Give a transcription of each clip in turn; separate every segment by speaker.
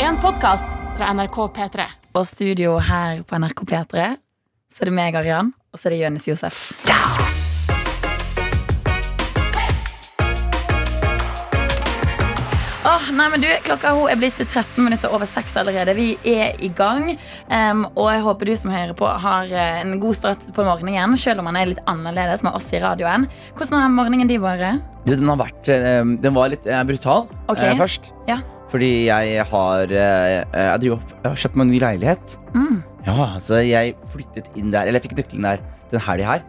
Speaker 1: en podkast fra NRK P3.
Speaker 2: Og studio her på NRK P3, så er det meg, Arian, og så er det Jonis Josef. Åh, nei, men du, Klokka hun er blitt 13 minutter over 6 allerede. Vi er i gang. Em, og jeg håper du som hører på, har eh, en god start på morgenen, selv om han er litt annerledes med oss i radioen. Hvordan har morgenen din vært?
Speaker 3: Du, den har vært eh, Den var litt eh, brutal
Speaker 2: Ok.
Speaker 3: eh, først.
Speaker 2: Ja.
Speaker 3: Fordi jeg har eh, Jeg, driver, opp- jeg har kjøpt meg en ny leilighet.
Speaker 2: Mm.
Speaker 3: Ja, Så jeg flyttet inn der. Eller jeg fikk nøkkelen der den helga her.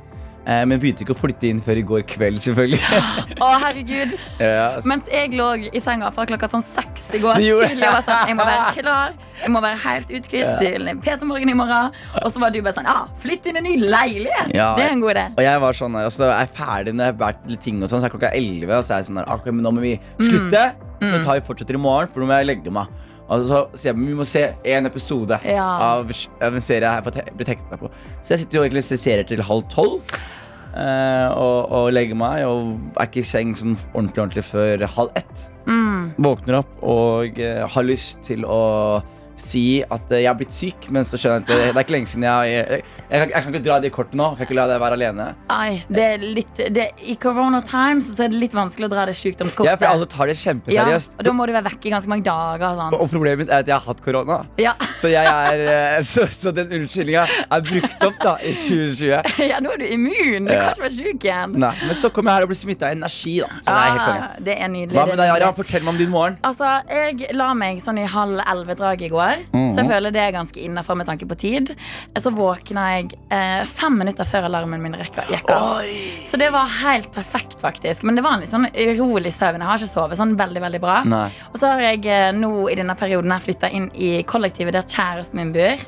Speaker 3: Eh, men begynte ikke å flytte inn før i går kveld, selvfølgelig.
Speaker 2: Å, herregud.
Speaker 3: Ja, s-
Speaker 2: Mens jeg lå i senga fra klokka sånn seks i går
Speaker 3: Du gjorde det.
Speaker 2: tidlig og var sånn Jeg må være klar. Jeg må være helt uthvilt til P3morgen i morgen. Og så var du bare sånn Ja, flytt inn i en ny leilighet!
Speaker 3: Ja.
Speaker 2: Det er en god idé.
Speaker 3: og jeg var sånn der, altså, jeg er ferdig når jeg har vært litt ting og sånn, så er klokka 11, og så er jeg sånn der, ok, men nå må vi slutte, så tar vi fortsetter i morgen, for nå må jeg legge meg. Og så sier jeg, men vi må se en episode
Speaker 2: Ja.
Speaker 3: av, av en serie jeg her på te- blir teknet meg på. Så jeg sitter jo egentlig og ser serier til halv tolv, eh, og, og legger meg, og er ikke i seng sånn ordentlig, ordentlig før halv ett.
Speaker 2: Mm.
Speaker 3: Våkner opp og eh, har lyst til å si at eh, jeg har blitt syk, men så skjønner jeg at det, det er ikke lenge siden jeg Jeg, jeg, jeg, kan, jeg kan ikke dra det i kortet nå. Jeg kan ikke la deg være alene.
Speaker 2: Ai, det er litt det, I corona times så er det litt vanskelig å dra det
Speaker 3: Ja, for alle
Speaker 2: sykdomskortet.
Speaker 3: tar det
Speaker 2: Ja,
Speaker 3: kjempeseriøst.
Speaker 2: og da må du være vekke i ganske mange dager. Og
Speaker 3: Og
Speaker 2: sånt.
Speaker 3: problemet mitt er at jeg har hatt korona.
Speaker 2: Ja.
Speaker 3: Så, jeg er, eh, så, så den unnskyldninga er brukt opp da i 2020.
Speaker 2: ja, nå er du immun. Du
Speaker 3: Ja.
Speaker 2: kan ikke være syk igjen.
Speaker 3: Nei, men så kom jeg her og ble smitta av energi, da. Så det er helt konge.
Speaker 2: Ah, det er nydelig.
Speaker 3: Hva
Speaker 2: det er
Speaker 3: med deg,
Speaker 2: nydelig.
Speaker 3: Aran? Fortell meg om din morgen.
Speaker 2: Altså, Jeg la meg sånn i halv elleve-draget i går,
Speaker 3: Mhm.
Speaker 2: så jeg føler det er ganske innafor med tanke på tid. Så våkna jeg eh, fem minutter før alarmen min rekka- gikk av.
Speaker 3: Oi!
Speaker 2: Så det var helt perfekt, faktisk. Men det var en litt sånn urolig søvn. Jeg har ikke sovet sånn veldig veldig bra.
Speaker 3: Nei.
Speaker 2: Og så har jeg eh, nå i denne perioden her flytta inn i kollektivet der kjæresten min bor.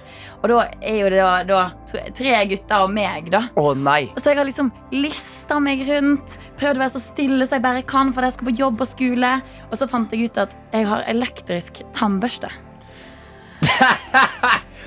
Speaker 2: Og da er jo det da, da to- tre gutter og meg, da.
Speaker 3: Å nei.
Speaker 2: Så jeg har liksom lista meg rundt, prøvd å være så stille som jeg bare kan. For jeg skal på jobb og skole Og så fant jeg ut at jeg har elektrisk tannbørste.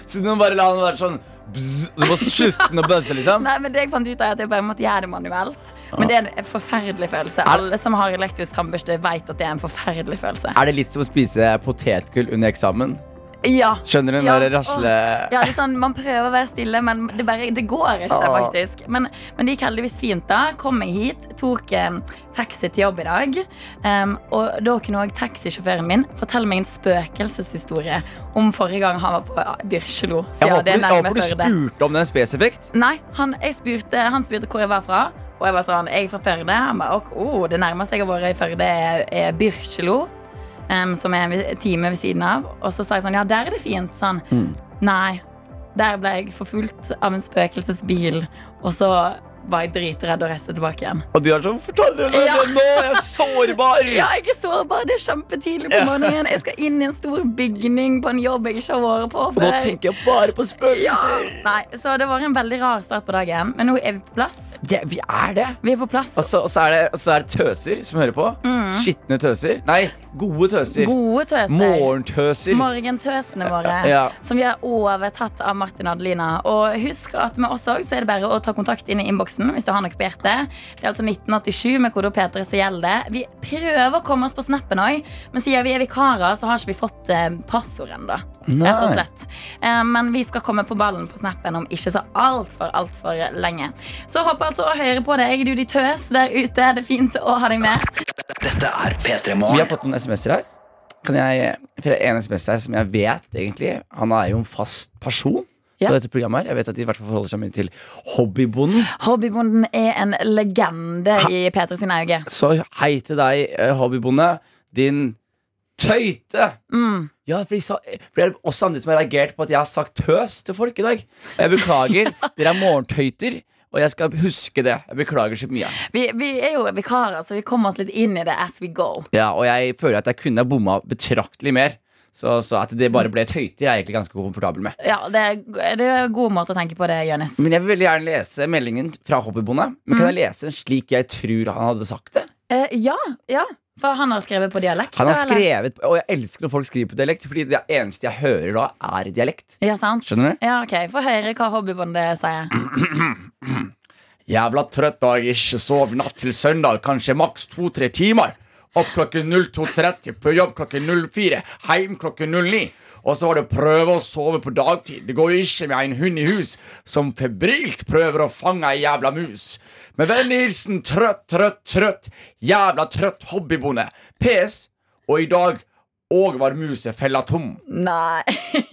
Speaker 3: Så du må bare la den være sånn bzz, Du må slutte med å bøsse, liksom?
Speaker 2: Nei, men det jeg fant ut av er at jeg bare måtte gjøre det manuelt. Men det er en forferdelig følelse. Alle som har elektrisk tannbørste, vet at det er en forferdelig følelse.
Speaker 3: Er det litt som å spise potetgull under eksamen?
Speaker 2: Ja.
Speaker 3: Skjønner du
Speaker 2: Ja,
Speaker 3: når det rasler
Speaker 2: Ja, det er sånn, Man prøver å være stille, men det, bare, det går ikke.
Speaker 3: Ah.
Speaker 2: faktisk men, men det gikk heldigvis fint. da Kom meg hit, tok eh, taxi til jobb i dag. Em, og da kunne også taxisjåføren min fortelle meg en spøkelseshistorie om forrige gang han var på ja, Byrkjelo.
Speaker 3: Jeg
Speaker 2: siden
Speaker 3: håper,
Speaker 2: det er
Speaker 3: du, jeg
Speaker 2: nærme
Speaker 3: håper du
Speaker 2: Førde.
Speaker 3: spurte om den spesifikt.
Speaker 2: Nei, han, jeg spurte, han spurte hvor jeg var fra. Og jeg var sånn, jeg er fra Førde. Han ba, ok, oh, det nærmeste jeg har vært i Førde, er, er Byrkjelo. em, som er en vi- time ved siden av. Og så sa jeg sånn, ja, der er det fint. Så han,
Speaker 3: Mm.
Speaker 2: nei, der ble jeg forfulgt av en spøkelsesbil. Og så var jeg dritredd og reiste tilbake igjen.
Speaker 3: Og du er sånn Fortell meg
Speaker 2: Ja.
Speaker 3: det nå! Jeg er sårbar!
Speaker 2: Ja, jeg er sårbar. Det er kjempetidlig på morgenen. Jeg skal inn i en stor bygning på en jobb jeg ikke har vært på
Speaker 3: Og nå
Speaker 2: før.
Speaker 3: tenker jeg bare
Speaker 2: ja.
Speaker 3: på spøkelser.
Speaker 2: Nei, så det var en veldig rar start på dagen. Men nå er vi på plass.
Speaker 3: Ja, vi er det.
Speaker 2: Vi er på plass.
Speaker 3: Og så, og så er det, og så er det tøser som hører på. Skitne tøser. Nei, gode tøser.
Speaker 2: Mm. Gode tøser.
Speaker 3: Morgentøser.
Speaker 2: Morgentøsene våre.
Speaker 3: Ja.
Speaker 2: Som vi har overtatt av Martin og Adelina. Og husk at med oss også, så er det bare å ta kontakt inn i innboksen hvis du har noe på hjertet. Det er altså 1987 med kode P3 som gjelder. Vi prøver å komme oss på snappen òg, men siden vi er vikarer, så har ikke vi fått eh, passord ennå. Rett og
Speaker 3: Nei.
Speaker 2: slett. Eh, Men vi skal komme på ballen på snappen om ikke så altfor, altfor lenge. Så håper altså å høre på deg, du de tøs der ute. Det er fint å ha deg med.
Speaker 4: Dette er P3
Speaker 3: Vi
Speaker 4: Morgen.
Speaker 3: har fått noen SMS-er her. Kan jeg, for det er en SMS her som jeg vet, egentlig Han er jo en fast person
Speaker 2: Ja.
Speaker 3: på dette programmet. her Jeg vet at de i hvert fall forholder seg mye til Hobbybonden.
Speaker 2: Hobbybonden er en legende i P3 sine øyne.
Speaker 3: Så hei til deg, eh, hobbybonde. Din tøyte!
Speaker 2: Mm.
Speaker 3: Ja, for, de sa, for Det er også andre som har reagert på at jeg har sagt tøs til folk i dag. Og jeg beklager. Dere er morgentøyter, og jeg skal huske det. Jeg beklager så mye.
Speaker 2: Vi, vi er jo vikarer, så vi kommer oss litt inn i det as we go.
Speaker 3: Ja, Og jeg føler at jeg kunne ha bomma betraktelig mer. Så, så at det bare ble tøyter, er jeg egentlig ganske komfortabel med.
Speaker 2: Ja, det er, det er en god måte å tenke på det, Jonis.
Speaker 3: Men jeg vil veldig gjerne lese meldingen fra Hobbybonde. Men kan jeg lese den slik jeg tror han hadde sagt det?
Speaker 2: Eh, ja, ja, for han har skrevet på dialekt.
Speaker 3: Han har
Speaker 2: da, eller?
Speaker 3: skrevet, Og jeg elsker når folk skriver på dialekt, Fordi det eneste jeg hører da, er dialekt.
Speaker 2: Ja, sant?
Speaker 3: Skjønner
Speaker 2: Ja, ok, Få høre hva hobbybondet sier.
Speaker 3: Jævla trøtt og jeg ikke sov natt til søndag, kanskje maks to-tre timer. Opp klokken 02.30, på jobb klokken 04, heim klokken 09. Og så var det prøve å sove på dagtid. Det går jo ikke med en hund i hus som febrilt prøver å fange ei jævla mus. Med vennlig hilsen trøtt, trøtt, trøtt, jævla trøtt hobbybonde. PS. Og i dag òg var muset fella tom.
Speaker 2: Nei.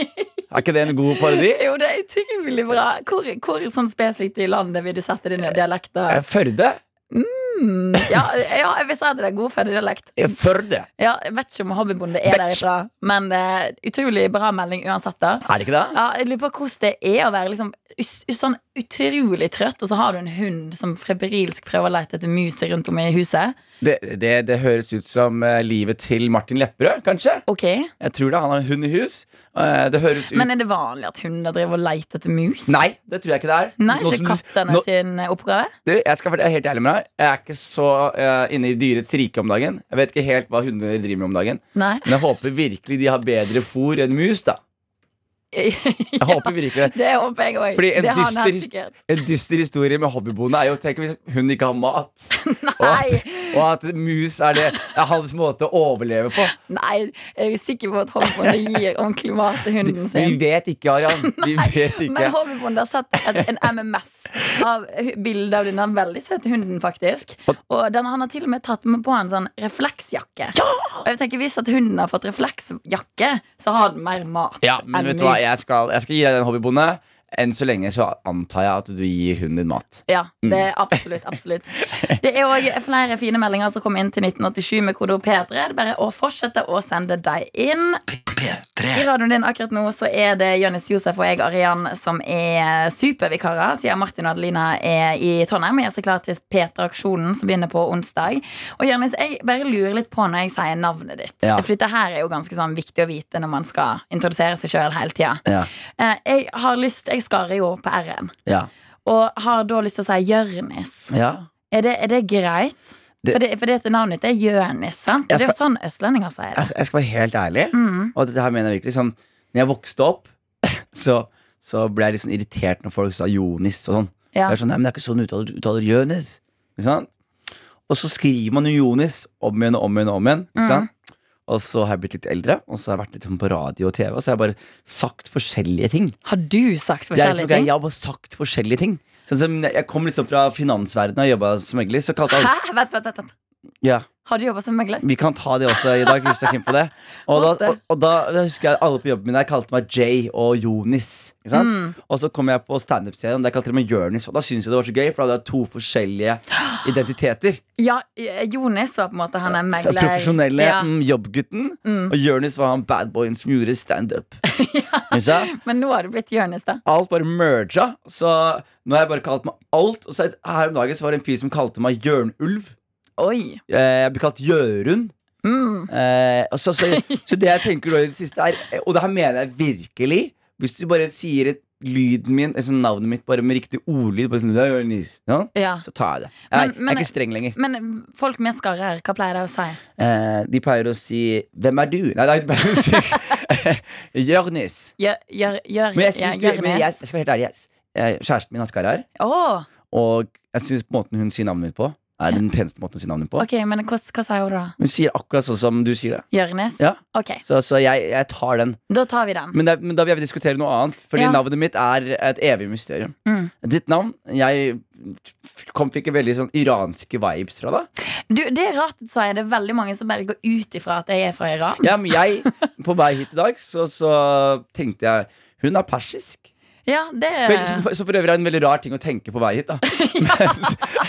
Speaker 3: Er ikke det en god parodi?
Speaker 2: Jo, det er utrolig bra. Hvor, hvor sånn spesifikt i landet vil du sette dine dialekter?
Speaker 3: Førde?
Speaker 2: Mm, ja, ja, jeg vil si at det er godfødedialekt.
Speaker 3: Førde.
Speaker 2: Ja, jeg vet ikke om hobbybonde er derifra, men eh, utrolig bra melding uansett. da
Speaker 3: Er det ikke det?
Speaker 2: ja, Jeg lurer på hvordan det er å være liksom, us- us- sånn utrolig trøtt, og så har du en hund som febrilsk prøver å lete etter muser rundt om i huset.
Speaker 3: Det, det, det høres ut som eh, livet til Martin Lepperød, kanskje.
Speaker 2: Ok,
Speaker 3: Jeg tror det. Han har en hund i hus. Eh, Det høres ut
Speaker 2: Men er det vanlig at hunder driver og leter etter mus?
Speaker 3: Nei, det tror jeg ikke det er.
Speaker 2: Nei,
Speaker 3: Nå som
Speaker 2: Ikke
Speaker 3: du-
Speaker 2: kattene
Speaker 3: nå-
Speaker 2: sin oppgave?
Speaker 3: Du, jeg skal være helt ærlig med deg. Jeg er ikke så eh, inne i dyrets rike om dagen. Jeg vet ikke helt hva hunder driver med om dagen.
Speaker 2: Nei.
Speaker 3: Men jeg håper virkelig de har bedre fôr enn mus, da. Jeg håper virkelig det.
Speaker 2: Det håper jeg òg.
Speaker 3: Fordi en
Speaker 2: Det har han helt
Speaker 3: dyster-
Speaker 2: sikkert.
Speaker 3: En dyster historie med hobbybonde er jo Tenk hvis hun ikke har mat. Og
Speaker 2: Nei.
Speaker 3: at, og at mus er det er hans måte å overleve på.
Speaker 2: Nei, jeg er sikker på at hobbybonde gir ordentlig mat til hunden
Speaker 3: Vi
Speaker 2: sin.
Speaker 3: vet ikke, Arian. Vi vet
Speaker 2: Men
Speaker 3: ikke.
Speaker 2: hobbybonde har sett et, en MMS av hu- bildet av denne veldig søte hunden, faktisk. Og den, han har til og med tatt med på en sånn refleksjakke. Og jeg tenker, Hvis at hunden har fått refleksjakke, så har den mer mat.
Speaker 3: Ja, men
Speaker 2: enn
Speaker 3: vet du hva,
Speaker 2: mus.
Speaker 3: jeg skal, jeg skal gi deg den, hobbybonde. Enn så lenge så antar jeg at du gir hunden din mat.
Speaker 2: Ja, det er absolutt, absolutt Det er òg flere fine meldinger som kom inn til 1987 med kodeord P3. Det er bare å fortsette å sende deg inn. I
Speaker 5: P3
Speaker 2: radioen din akkurat nå så er det Jonis Josef og jeg, Arian, som er supervikarer. Siden Martin og Adelina er i Trondheim og gjør seg klar til P3-aksjonen som begynner på onsdag. Og Jonis, jeg bare lurer litt på når jeg sier navnet ditt.
Speaker 3: Ja.
Speaker 2: For dette her er jo ganske sånn viktig å vite når man skal introdusere seg sjøl hele tida.
Speaker 3: Ja,
Speaker 2: Eh, Jeg har lyst, jeg skarer jo på R-en,
Speaker 3: ja,
Speaker 2: og har da lyst til å si Jørnis.
Speaker 3: ja.
Speaker 2: Er det, er det greit?
Speaker 3: Det-
Speaker 2: for, det, for dette navnet ditt er Jørnis, sant?
Speaker 3: Jeg
Speaker 2: Det er jo sånn østlendinger sier det.
Speaker 3: Jeg, jeg skal være helt ærlig.
Speaker 2: Mm.
Speaker 3: Og dette her mener jeg virkelig sånn Når jeg vokste opp, så, så ble jeg litt sånn irritert når folk sa Jonis og sånn.
Speaker 2: Ja.
Speaker 3: Jeg er sånn, nei, men det er ikke sånn du uttaler, uttaler Jonis. Ikke sant? Og så skriver man jo Jonis om igjen og om igjen og om igjen. Ikke
Speaker 2: Mm.
Speaker 3: sant? Og så har jeg blitt litt eldre, og så har jeg vært litt sånn på radio og TV, og så har jeg bare sagt forskjellige ting.
Speaker 2: Har du sagt
Speaker 3: Det er
Speaker 2: forskjellige
Speaker 3: liksom, ikke-
Speaker 2: ting?
Speaker 3: jeg har bare sagt forskjellige ting. Sånn som Jeg kom liksom fra finansverdenen og jobba som megler, så kalte alle
Speaker 2: Hæ? Vent, vent, vent, vent.
Speaker 3: ja.
Speaker 2: Har du jobba som megler?
Speaker 3: Vi kan ta det også i dag. Hvis du er keen på det. Og, da, og, og da, da husker jeg alle på jobben min der kalte meg Jay og Jonis. Ikke sant?
Speaker 2: Mm.
Speaker 3: Og så kom jeg på standup-serien, der kalte de meg Jonis. Og da syntes jeg det var så gøy, for da hadde jeg to forskjellige identiteter.
Speaker 2: Ja, eh, Jonis var på en måte han er megler.
Speaker 3: Profesjonelle
Speaker 2: Ja. Mm.
Speaker 3: mm, jobbgutten, og Jonis var han badboyen som gjorde standup. ja.
Speaker 2: Men nå har det blitt Jonis, da.
Speaker 3: Alt bare merga. Så nå har jeg bare kalt meg alt. Og så her om dagen så var det en fyr som kalte meg Jørnulv.
Speaker 2: Oi.
Speaker 3: Eh, Jeg blir kalt Jørund.
Speaker 2: Mm.
Speaker 3: Eh, og så, så, så det jeg tenker nå i det siste er Og det her mener jeg virkelig Hvis du bare sier et, lyden min altså Navnet mitt bare med riktig ordlyd bare sånn, «Det er Jonis», ja,
Speaker 2: Ja.
Speaker 3: Så tar jeg det Jeg,
Speaker 2: Men-
Speaker 3: er- jeg
Speaker 2: men-
Speaker 3: er ikke streng lenger
Speaker 2: Men folk med skarrer, hva pleier de å si?
Speaker 3: eh, De pleier å si Hvem er du? Nei, nei, de pleier å si Jørnis
Speaker 2: Gjør, gjør, gjør,
Speaker 3: Men jeg
Speaker 2: ja,
Speaker 3: synes du, men jeg,
Speaker 2: Jørnis.
Speaker 3: jeg skal være helt ærlig jeg, eh, Kjæresten min har skar her
Speaker 2: Å,
Speaker 3: Og jeg synes måten hun sier navnet mitt på Er den peneste måten hun sier navnet mitt på
Speaker 2: ok, men hva, hva sier hun da?
Speaker 3: Hun sier akkurat sånn som du sier det
Speaker 2: Jørnis?
Speaker 3: Ja.
Speaker 2: Ok,
Speaker 3: Så, så jeg, jeg tar den
Speaker 2: da tar vi den.
Speaker 3: Men, det, men da vil jeg diskutere noe annet. Fordi
Speaker 2: Ja.
Speaker 3: navnet mitt er et evig mysterium.
Speaker 2: Mm.
Speaker 3: Ditt navn Jeg f- kom, fikk veldig sånn iranske vibes fra deg.
Speaker 2: Du, det er rart du sier det. er veldig mange som bare går ut ifra at jeg er fra Iran.
Speaker 3: Ja, men jeg, på vei hit i dag, så, så tenkte jeg Hun er persisk.
Speaker 2: Ja, det er
Speaker 3: Men, liksom- som, som for øvrig er en veldig rar ting å tenke på vei hit. da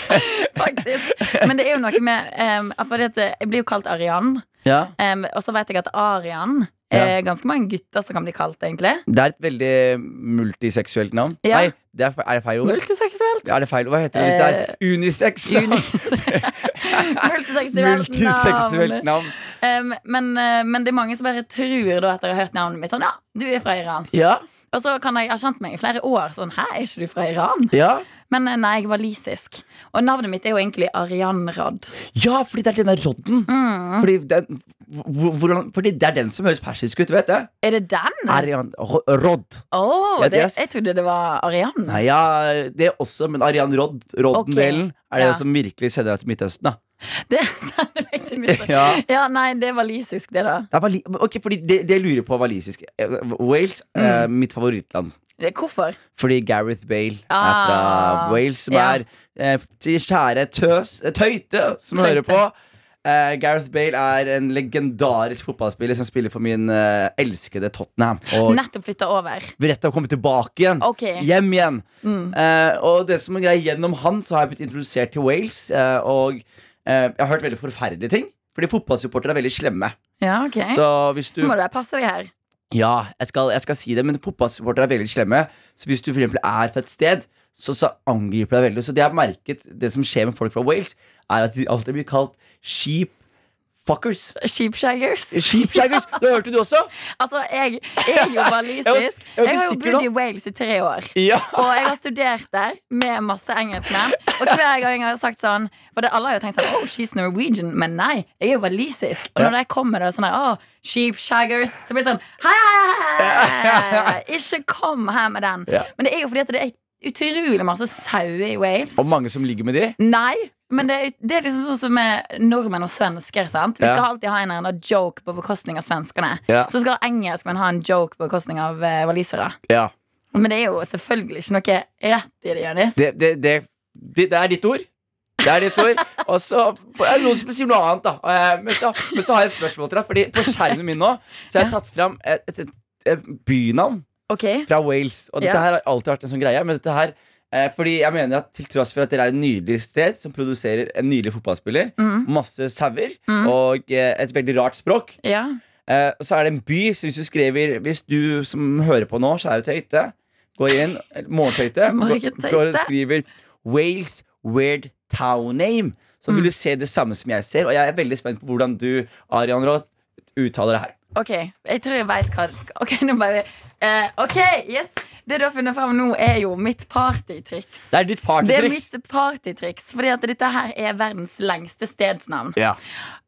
Speaker 2: faktisk Men det er jo noe med um, For det, at jeg blir jo kalt Arian.
Speaker 3: ja.
Speaker 2: Em, og så vet jeg at Arian
Speaker 3: Ja.
Speaker 2: er ganske mange gutter som kan bli kalt, egentlig.
Speaker 3: Det er et veldig multiseksuelt navn.
Speaker 2: Ja.
Speaker 3: Nei, det er, fe- er det feil ord?
Speaker 2: Multiseksuelt.
Speaker 3: Er det feil? Hva heter det hvis det er
Speaker 2: Eh,
Speaker 3: unisex?
Speaker 2: Multiseksuelt
Speaker 3: Multiseksuelt
Speaker 2: navn.
Speaker 3: navn.
Speaker 2: Em, men, eh, men det er mange som bare tror da etter å ha hørt navnet mitt sånn Ja, du er fra Iran.
Speaker 3: Ja,
Speaker 2: Og så kan jeg ha kjent meg i flere år sånn Hæ, er ikke du fra Iran?
Speaker 3: ja.
Speaker 2: Men eh, nei, jeg var lisisk. Og navnet mitt er jo egentlig Arian Radd.
Speaker 3: Ja, fordi det er denne rodden.
Speaker 2: Mm.
Speaker 3: Fordi, den, hvor- hvordan, fordi det er den som høres persisk ut, vet jeg.
Speaker 2: Er det den? Å,
Speaker 3: Arian Ro- Rodd. Ja,
Speaker 2: det,
Speaker 3: det er-
Speaker 2: jeg trodde det var Arian.
Speaker 3: Nei, ja, det er også, men Arian Rodd, Rodden-delen, er det
Speaker 2: Ja.
Speaker 3: som virkelig sender deg til Midtøsten. da
Speaker 2: Det sender meg til mister. Ja.
Speaker 3: Ja.
Speaker 2: nei, det var lisisk, det, da.
Speaker 3: Det er vali ok, fordi det, det jeg lurer på er walisisk. Eh, Wales, eh,
Speaker 2: Mm.
Speaker 3: mitt favorittland.
Speaker 2: Det, hvorfor?
Speaker 3: Fordi Gareth Bale er
Speaker 2: Ah.
Speaker 3: fra Wales, som
Speaker 2: Ja.
Speaker 3: er eh, til kjære tøs, eh, tøyte som
Speaker 2: Tøyte.
Speaker 3: hører på. Eh, Gareth Bale er en legendarisk fotballspiller som spiller for min eh, elskede Tottenham. Og
Speaker 2: Nettopp flytta over.
Speaker 3: rett til å komme tilbake igjen.
Speaker 2: Ok. Mm.
Speaker 3: Hjem igjen. Eh, og det som er greia gjennom han, så har jeg blitt introdusert til Wales. eh, og eh, jeg har hørt veldig forferdelige ting. Fordi fotballsupportere er veldig slemme.
Speaker 2: Ja, ok
Speaker 3: Så hvis du
Speaker 2: Nå må du passe deg her.
Speaker 3: ja, jeg skal, jeg skal si det, men fotballsupportere er veldig slemme. Så hvis du for eksempel er fra et sted, så, så angriper de deg veldig. Så det jeg har merket, det som skjer med folk fra Wales, er at de alltid blir kalt sheep fuckers.
Speaker 2: Sheepshaggers.
Speaker 3: Sheepshaggers! Det hørte du også?
Speaker 2: Altså, jeg, jeg er jo walisisk.
Speaker 3: Jeg var-
Speaker 2: Jeg,
Speaker 3: jeg var ikke
Speaker 2: har jo
Speaker 3: sikker
Speaker 2: bodd
Speaker 3: nå.
Speaker 2: i Wales i tre år.
Speaker 3: Ja.
Speaker 2: Og jeg har studert der med masse engelskmenn. Og hver gang jeg har sagt sånn For det, alle har jo tenkt sånn Oh, she's Norwegian. Men nei, jeg er jo walisisk. Og når jeg kommer og sånn her oh, Sheep shaggers. Så blir det sånn Hei, hei, hei, hei! Ikke kom her med den.
Speaker 3: Ja.
Speaker 2: Men det er jo fordi at det er utrolig masse sauer i Wales.
Speaker 3: Og mange som ligger med de.
Speaker 2: Nei, men det, er- det er liksom sånn som med nordmenn og svensker. sant? Vi
Speaker 3: Ja.
Speaker 2: skal alltid ha en eller annen joke på bekostning av svenskene.
Speaker 3: Ja.
Speaker 2: Så skal engelskmenn ha en joke på bekostning av eh, walisere.
Speaker 3: Ja.
Speaker 2: Men det er jo selvfølgelig ikke noe rett i det, Jonis.
Speaker 3: Det, det, det, det, det er ditt ord. Det er ditt ord. Og så er det noen som sier noe annet, da. Eh, Men så, men så har jeg et spørsmål til deg. Fordi på skjermen min nå Så jeg har tatt fram et, et, et, et bynavn.
Speaker 2: Ok,
Speaker 3: fra Wales. Og dette
Speaker 2: Ja.
Speaker 3: her har alltid vært en sånn greie. Men dette her eh, Fordi jeg mener at til tross for at dere er et nydelig sted som produserer en nydelig fotballspiller,
Speaker 2: Mm.
Speaker 3: masse sauer og eh, et veldig rart språk,
Speaker 2: ja.
Speaker 3: eh, så er det en by Så hvis du skriver Hvis du som hører på nå, kjære Tøyte, går inn Morgentøyte.
Speaker 2: Morgen,
Speaker 3: går- Går og
Speaker 2: Tøyte.
Speaker 3: skriver Wales Weird Town Name. Så
Speaker 2: Mm.
Speaker 3: vil du se det samme som jeg ser, og jeg er veldig spent på hvordan du, Arian Roth, uttaler det her.
Speaker 2: Ok, jeg tror jeg vet hva Ok, nå bare eh, Ok, yes Det du har funnet frem nå er jo mitt partytriks
Speaker 3: Det er
Speaker 2: Det
Speaker 3: ditt
Speaker 2: er
Speaker 3: partytriks.
Speaker 2: mitt partytriks Fordi at dette her er verdens lengste stedsnavn
Speaker 3: Ja.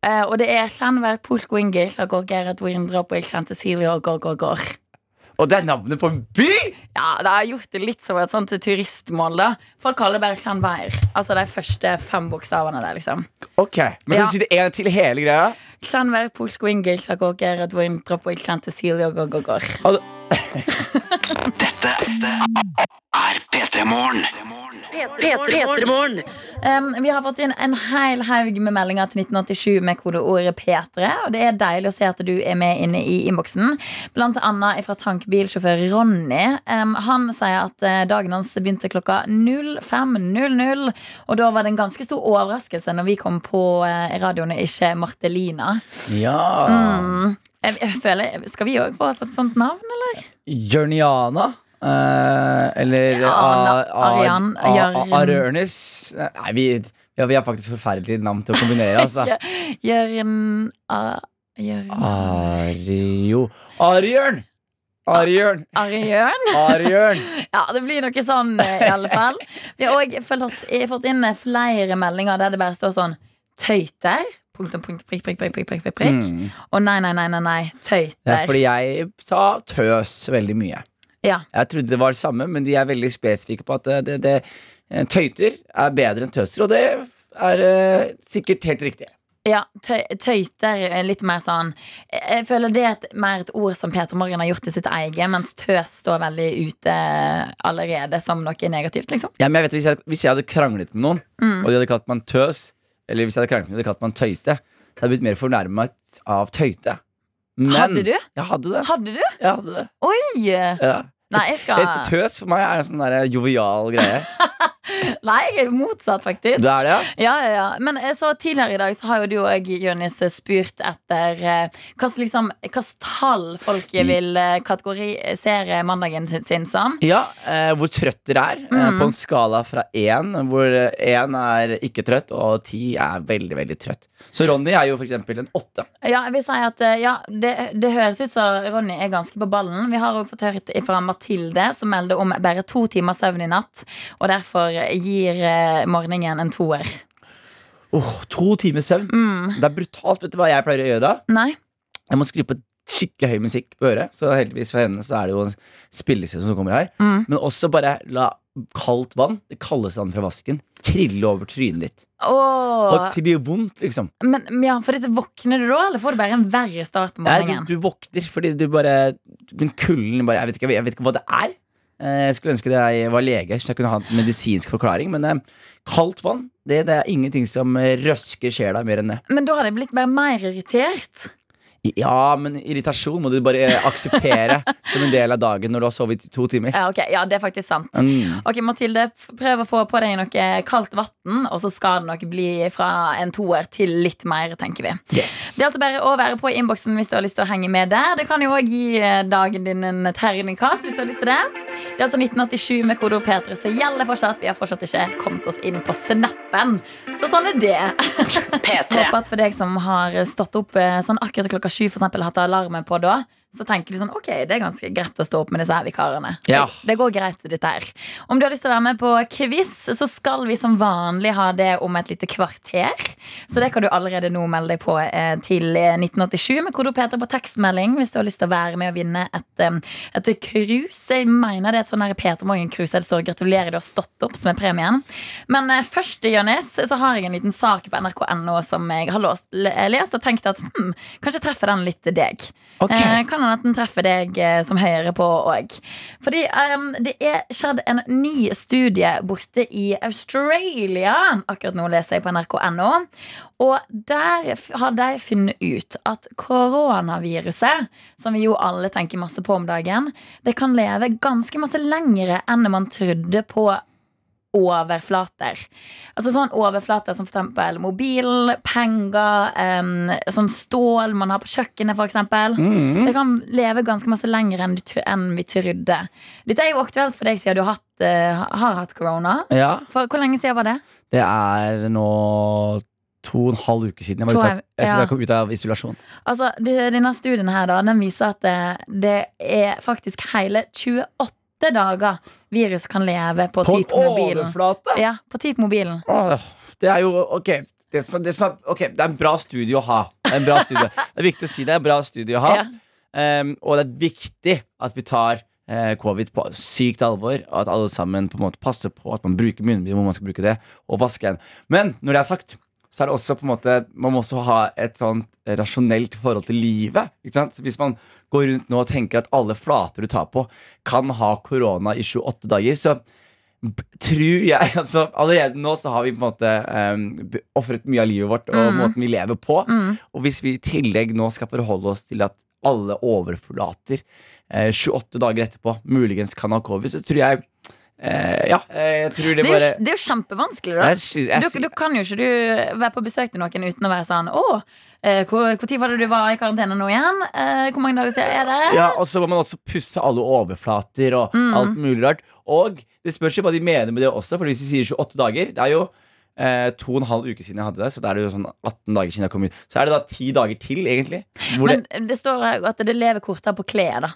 Speaker 2: Eh, Og det er Kjennvær Polkwingel Og går Gerhard Windrop Og jeg kjente Silje og går, går, går
Speaker 3: Og det er navnet på en by!
Speaker 2: Ja, det har gjort det litt som et sånt turistmål da Folk kaller det bare Kjennvær Altså de første fem bokstavene der liksom
Speaker 3: Ok, Men kan
Speaker 2: Ja.
Speaker 3: du si det en til hele greia?
Speaker 2: Kjennvær Polkwingel Og går Gerhard Windrop Og jeg kjente Silje og går, går, går
Speaker 6: er P3 Morgen.
Speaker 7: P3morgen.
Speaker 2: Um, vi har fått inn en hel haug med meldinger til 1987 med kodeordet P3. Og det er deilig å se at du er med inne i innboksen. Blant annet fra tankbilsjåfør Ronny. Um, han sier at eh, dagen hans begynte klokka 05.00. Og da var det en ganske stor overraskelse når vi kom på eh, radioen og ikke Martelina.
Speaker 3: Ja
Speaker 2: Mm. Jeg, jeg føler, Skal vi òg få oss et sånt navn, eller?
Speaker 3: Jørniana eh, Eller
Speaker 2: Ja, Anna- Arian- Jørn-
Speaker 3: Arørnes Nei, vi, ja, vi har faktisk forferdelige navn til å kombinere altså.
Speaker 2: Jørn A... Jørn
Speaker 3: Ah. Ario Ariørn Ariørn
Speaker 2: Ariørn?
Speaker 3: Ariørn
Speaker 2: Ja, det blir noe sånn eh, i alle fall. Vi har òg fått, eh, fått inn eh, flere meldinger der det bare står sånn Tøyter. Punktum, punktum, prikk, prikk, prikk, prikk, prikk, prikk, prikk.
Speaker 3: Mm.
Speaker 2: Og nei, nei, nei, nei, nei.
Speaker 3: Det er
Speaker 2: Tøyter.
Speaker 3: fordi jeg tar tøs veldig mye
Speaker 2: Ja.
Speaker 3: Jeg trodde det var det samme, men de er veldig spesifikke på at det, det, det, eh, tøyter er bedre enn tøser Og det er eh, sikkert helt riktig
Speaker 2: ja tøy, tøyter er litt mer sånn Jeg jeg føler det er et, mer et ord som Peter Morgan har gjort til sitt eget, mens tøs står veldig ute eh, allerede som noe negativt, liksom.
Speaker 3: Ja, men jeg vet, hvis, jeg, hvis jeg hadde kranglet med noen,
Speaker 2: Mm.
Speaker 3: og de hadde kalt meg en tøs, eller hvis jeg hadde kranglet med noen, de hadde kalt meg en tøyte, så hadde jeg blitt mer fornærmet av tøyte. Men
Speaker 2: Hadde du?
Speaker 3: Jeg hadde det.
Speaker 2: Hadde du?
Speaker 3: Jeg hadde det.
Speaker 2: Oi!
Speaker 3: Ja.
Speaker 2: Nei, jeg skal
Speaker 3: Et tøs for meg er en sånn der jovial greie.
Speaker 2: Nei, jeg er motsatt, faktisk.
Speaker 3: Det er det, ja.
Speaker 2: Ja, ja, ja. Men eh, så tidligere i dag så har jo du og Jonis eh, spurt etter eh, hva slags liksom, hva slags tall folk vil eh, kategorisere mandagen sin, sin som.
Speaker 3: Ja, eh, Hvor trøtt dere er, eh,
Speaker 2: Mm.
Speaker 3: på en skala fra én, hvor eh, én er ikke trøtt, og ti er veldig, veldig trøtt. Så Ronny er jo for eksempel en åtte.
Speaker 2: Ja, jeg vil si at eh, ja, det, det høres ut som Ronny er ganske på ballen. Vi har også fått hørt fra Mathilde, som melder om bare to timer søvn i natt. Og derfor gir eh, morgenen en toer. Mm.
Speaker 3: Åh, to timer søvn. Det er brutalt. Vet du hva jeg pleier å gjøre da?
Speaker 2: Nei?
Speaker 3: Jeg må skru på skikkelig høy musikk på øret. Så heldigvis for henne så er det jo en spillestil som kommer her. Men også bare la kaldt vann, det kaldeste vannet fra vasken, krille over trynet ditt. Og
Speaker 2: Åh,
Speaker 3: til det gjør vondt, liksom.
Speaker 2: men men ja, for dette våkner du da, eller får du bare en verre start på
Speaker 3: Nei, du,
Speaker 2: morgenen?
Speaker 3: du våkner fordi du bare Den kulden bare Jeg vet ikke, jeg vet ikke hva det er. Eh, Jeg skulle ønske jeg var lege, så jeg kunne ha en medisinsk forklaring. Men eh, kaldt vann det, det er ingenting som eh, røsker sjela mer enn det.
Speaker 2: Men da hadde jeg blitt bare mer irritert.
Speaker 3: Ja, men irritasjon må du bare eh, akseptere som en del av dagen når du har sovet i to timer.
Speaker 2: Ja, ok, ja, det er faktisk sant.
Speaker 3: Mm.
Speaker 2: Ok, Mathilde, f- prøv å få på deg noe kaldt vann, og så skal det nok bli fra en toer til litt mer, tenker vi.
Speaker 3: Yes.
Speaker 2: Det er altså bare å være på i innboksen hvis du har lyst til å henge med der. Det kan jo òg gi eh, dagen din en terningkast hvis du har lyst til det. Det er altså 1987 med kodeord P3 som gjelder fortsatt. Vi har fortsatt ikke kommet oss inn på snappen. Så sånn er det.
Speaker 7: P3.
Speaker 2: Håper at for deg som har stått opp eh, sånn akkurat klokka sju for eksempel, hatt alarmen på da, så tenker du sånn ok, det er ganske greit å stå opp med disse her vikarene.
Speaker 3: Ja.
Speaker 2: Det, det går greit, dette her. Om du har lyst til å være med på quiz, så skal vi som vanlig ha det om et lite kvarter. Så det kan du allerede nå melde deg på eh, til eh, 1987 med kodeord P3 på tekstmelding hvis du har lyst til å være med og vinne et, eh, et cruise. Jeg mener det er et sånn her P3 Morgen-cruise der det står 'Gratulerer, du har stått opp' som er premien. Men eh, først, Jonis, så har jeg en liten sak på nrk.no som jeg har låst, le- lest og tenkt at hm, kanskje treffer den litt deg.
Speaker 3: Ok.
Speaker 2: Eh, kan hende at den treffer deg eh, som hører på òg. Fordi ehm, det er skjedd en ny studie borte i Australia. Akkurat nå leser jeg på nrk.no. Og der f- har de funnet ut at koronaviruset, som vi jo alle tenker masse på om dagen, det kan leve ganske masse lengre enn man trodde på overflater. Altså sånn overflater som for eksempel mobilen, penger, em, sånn stål man har på kjøkkenet for eksempel.
Speaker 3: Mm.
Speaker 2: Det kan leve ganske masse lenger enn, du tr- enn vi trodde. Dette er jo aktuelt for deg siden du har hatt, eh, har hatt korona.
Speaker 3: Ja,
Speaker 2: For hvor lenge siden var det?
Speaker 3: det er nå to og en halv uke siden jeg, var
Speaker 2: To
Speaker 3: ute av,
Speaker 2: er-
Speaker 3: jeg, så
Speaker 2: ja.
Speaker 3: jeg kom ut av isolasjon.
Speaker 2: Altså, de- denne studien her da, den viser at det, det er faktisk hele 28 dager virus kan leve på,
Speaker 3: På en
Speaker 2: typ mobilen.
Speaker 3: overflate!
Speaker 2: Ja, på typ mobilen.
Speaker 3: Åh, Det er jo ok det, som, det, som er, ok, det er en bra studie å ha. Det er, en bra studie. det er viktig å si det er en bra studie å ha.
Speaker 2: Ja.
Speaker 3: Ehm, og det er viktig at vi tar eh, covid på sykt alvor, og at alle sammen på en måte passer på at man bruker munnbind hvor man skal bruke det, og vaske en. Men når det er sagt, så er det også på en måte man må også ha et sånt rasjonelt forhold til livet. Ikke sant? Så hvis man går rundt nå og tenker at alle flater du tar på, kan ha korona i 28 dager, så tror jeg altså, Allerede nå så har vi på en måte um, ofret mye av livet vårt og
Speaker 2: Mm.
Speaker 3: måten vi lever på. Og hvis vi i tillegg nå skal forholde oss til at alle overforlater eh, 28 dager etterpå muligens kan ha covid, så tror jeg eh, Ja, eh, jeg tror det
Speaker 2: Det er,
Speaker 3: bare
Speaker 2: jo, det er jo kjempevanskelig, da.
Speaker 3: Jeg sy- jeg
Speaker 2: Du,
Speaker 3: sy-
Speaker 2: du kan jo ikke du være på besøk til noen uten å være sånn Å, eh, hvor, hvor tid var det du var i karantene nå igjen? Eh, hvor mange dager siden er det?
Speaker 3: Ja, og så må man også pusse alle overflater og alt mulig rart. Og det spørs jo hva de mener med det også, for hvis de sier 28 dager Det er jo eh, to og en halv uke siden jeg hadde det, så da er det jo sånn 18 dager siden jeg kom ut. Så er det da ti dager til, egentlig. Hvor det,
Speaker 2: Men det står her at det lever kortere på klær, da.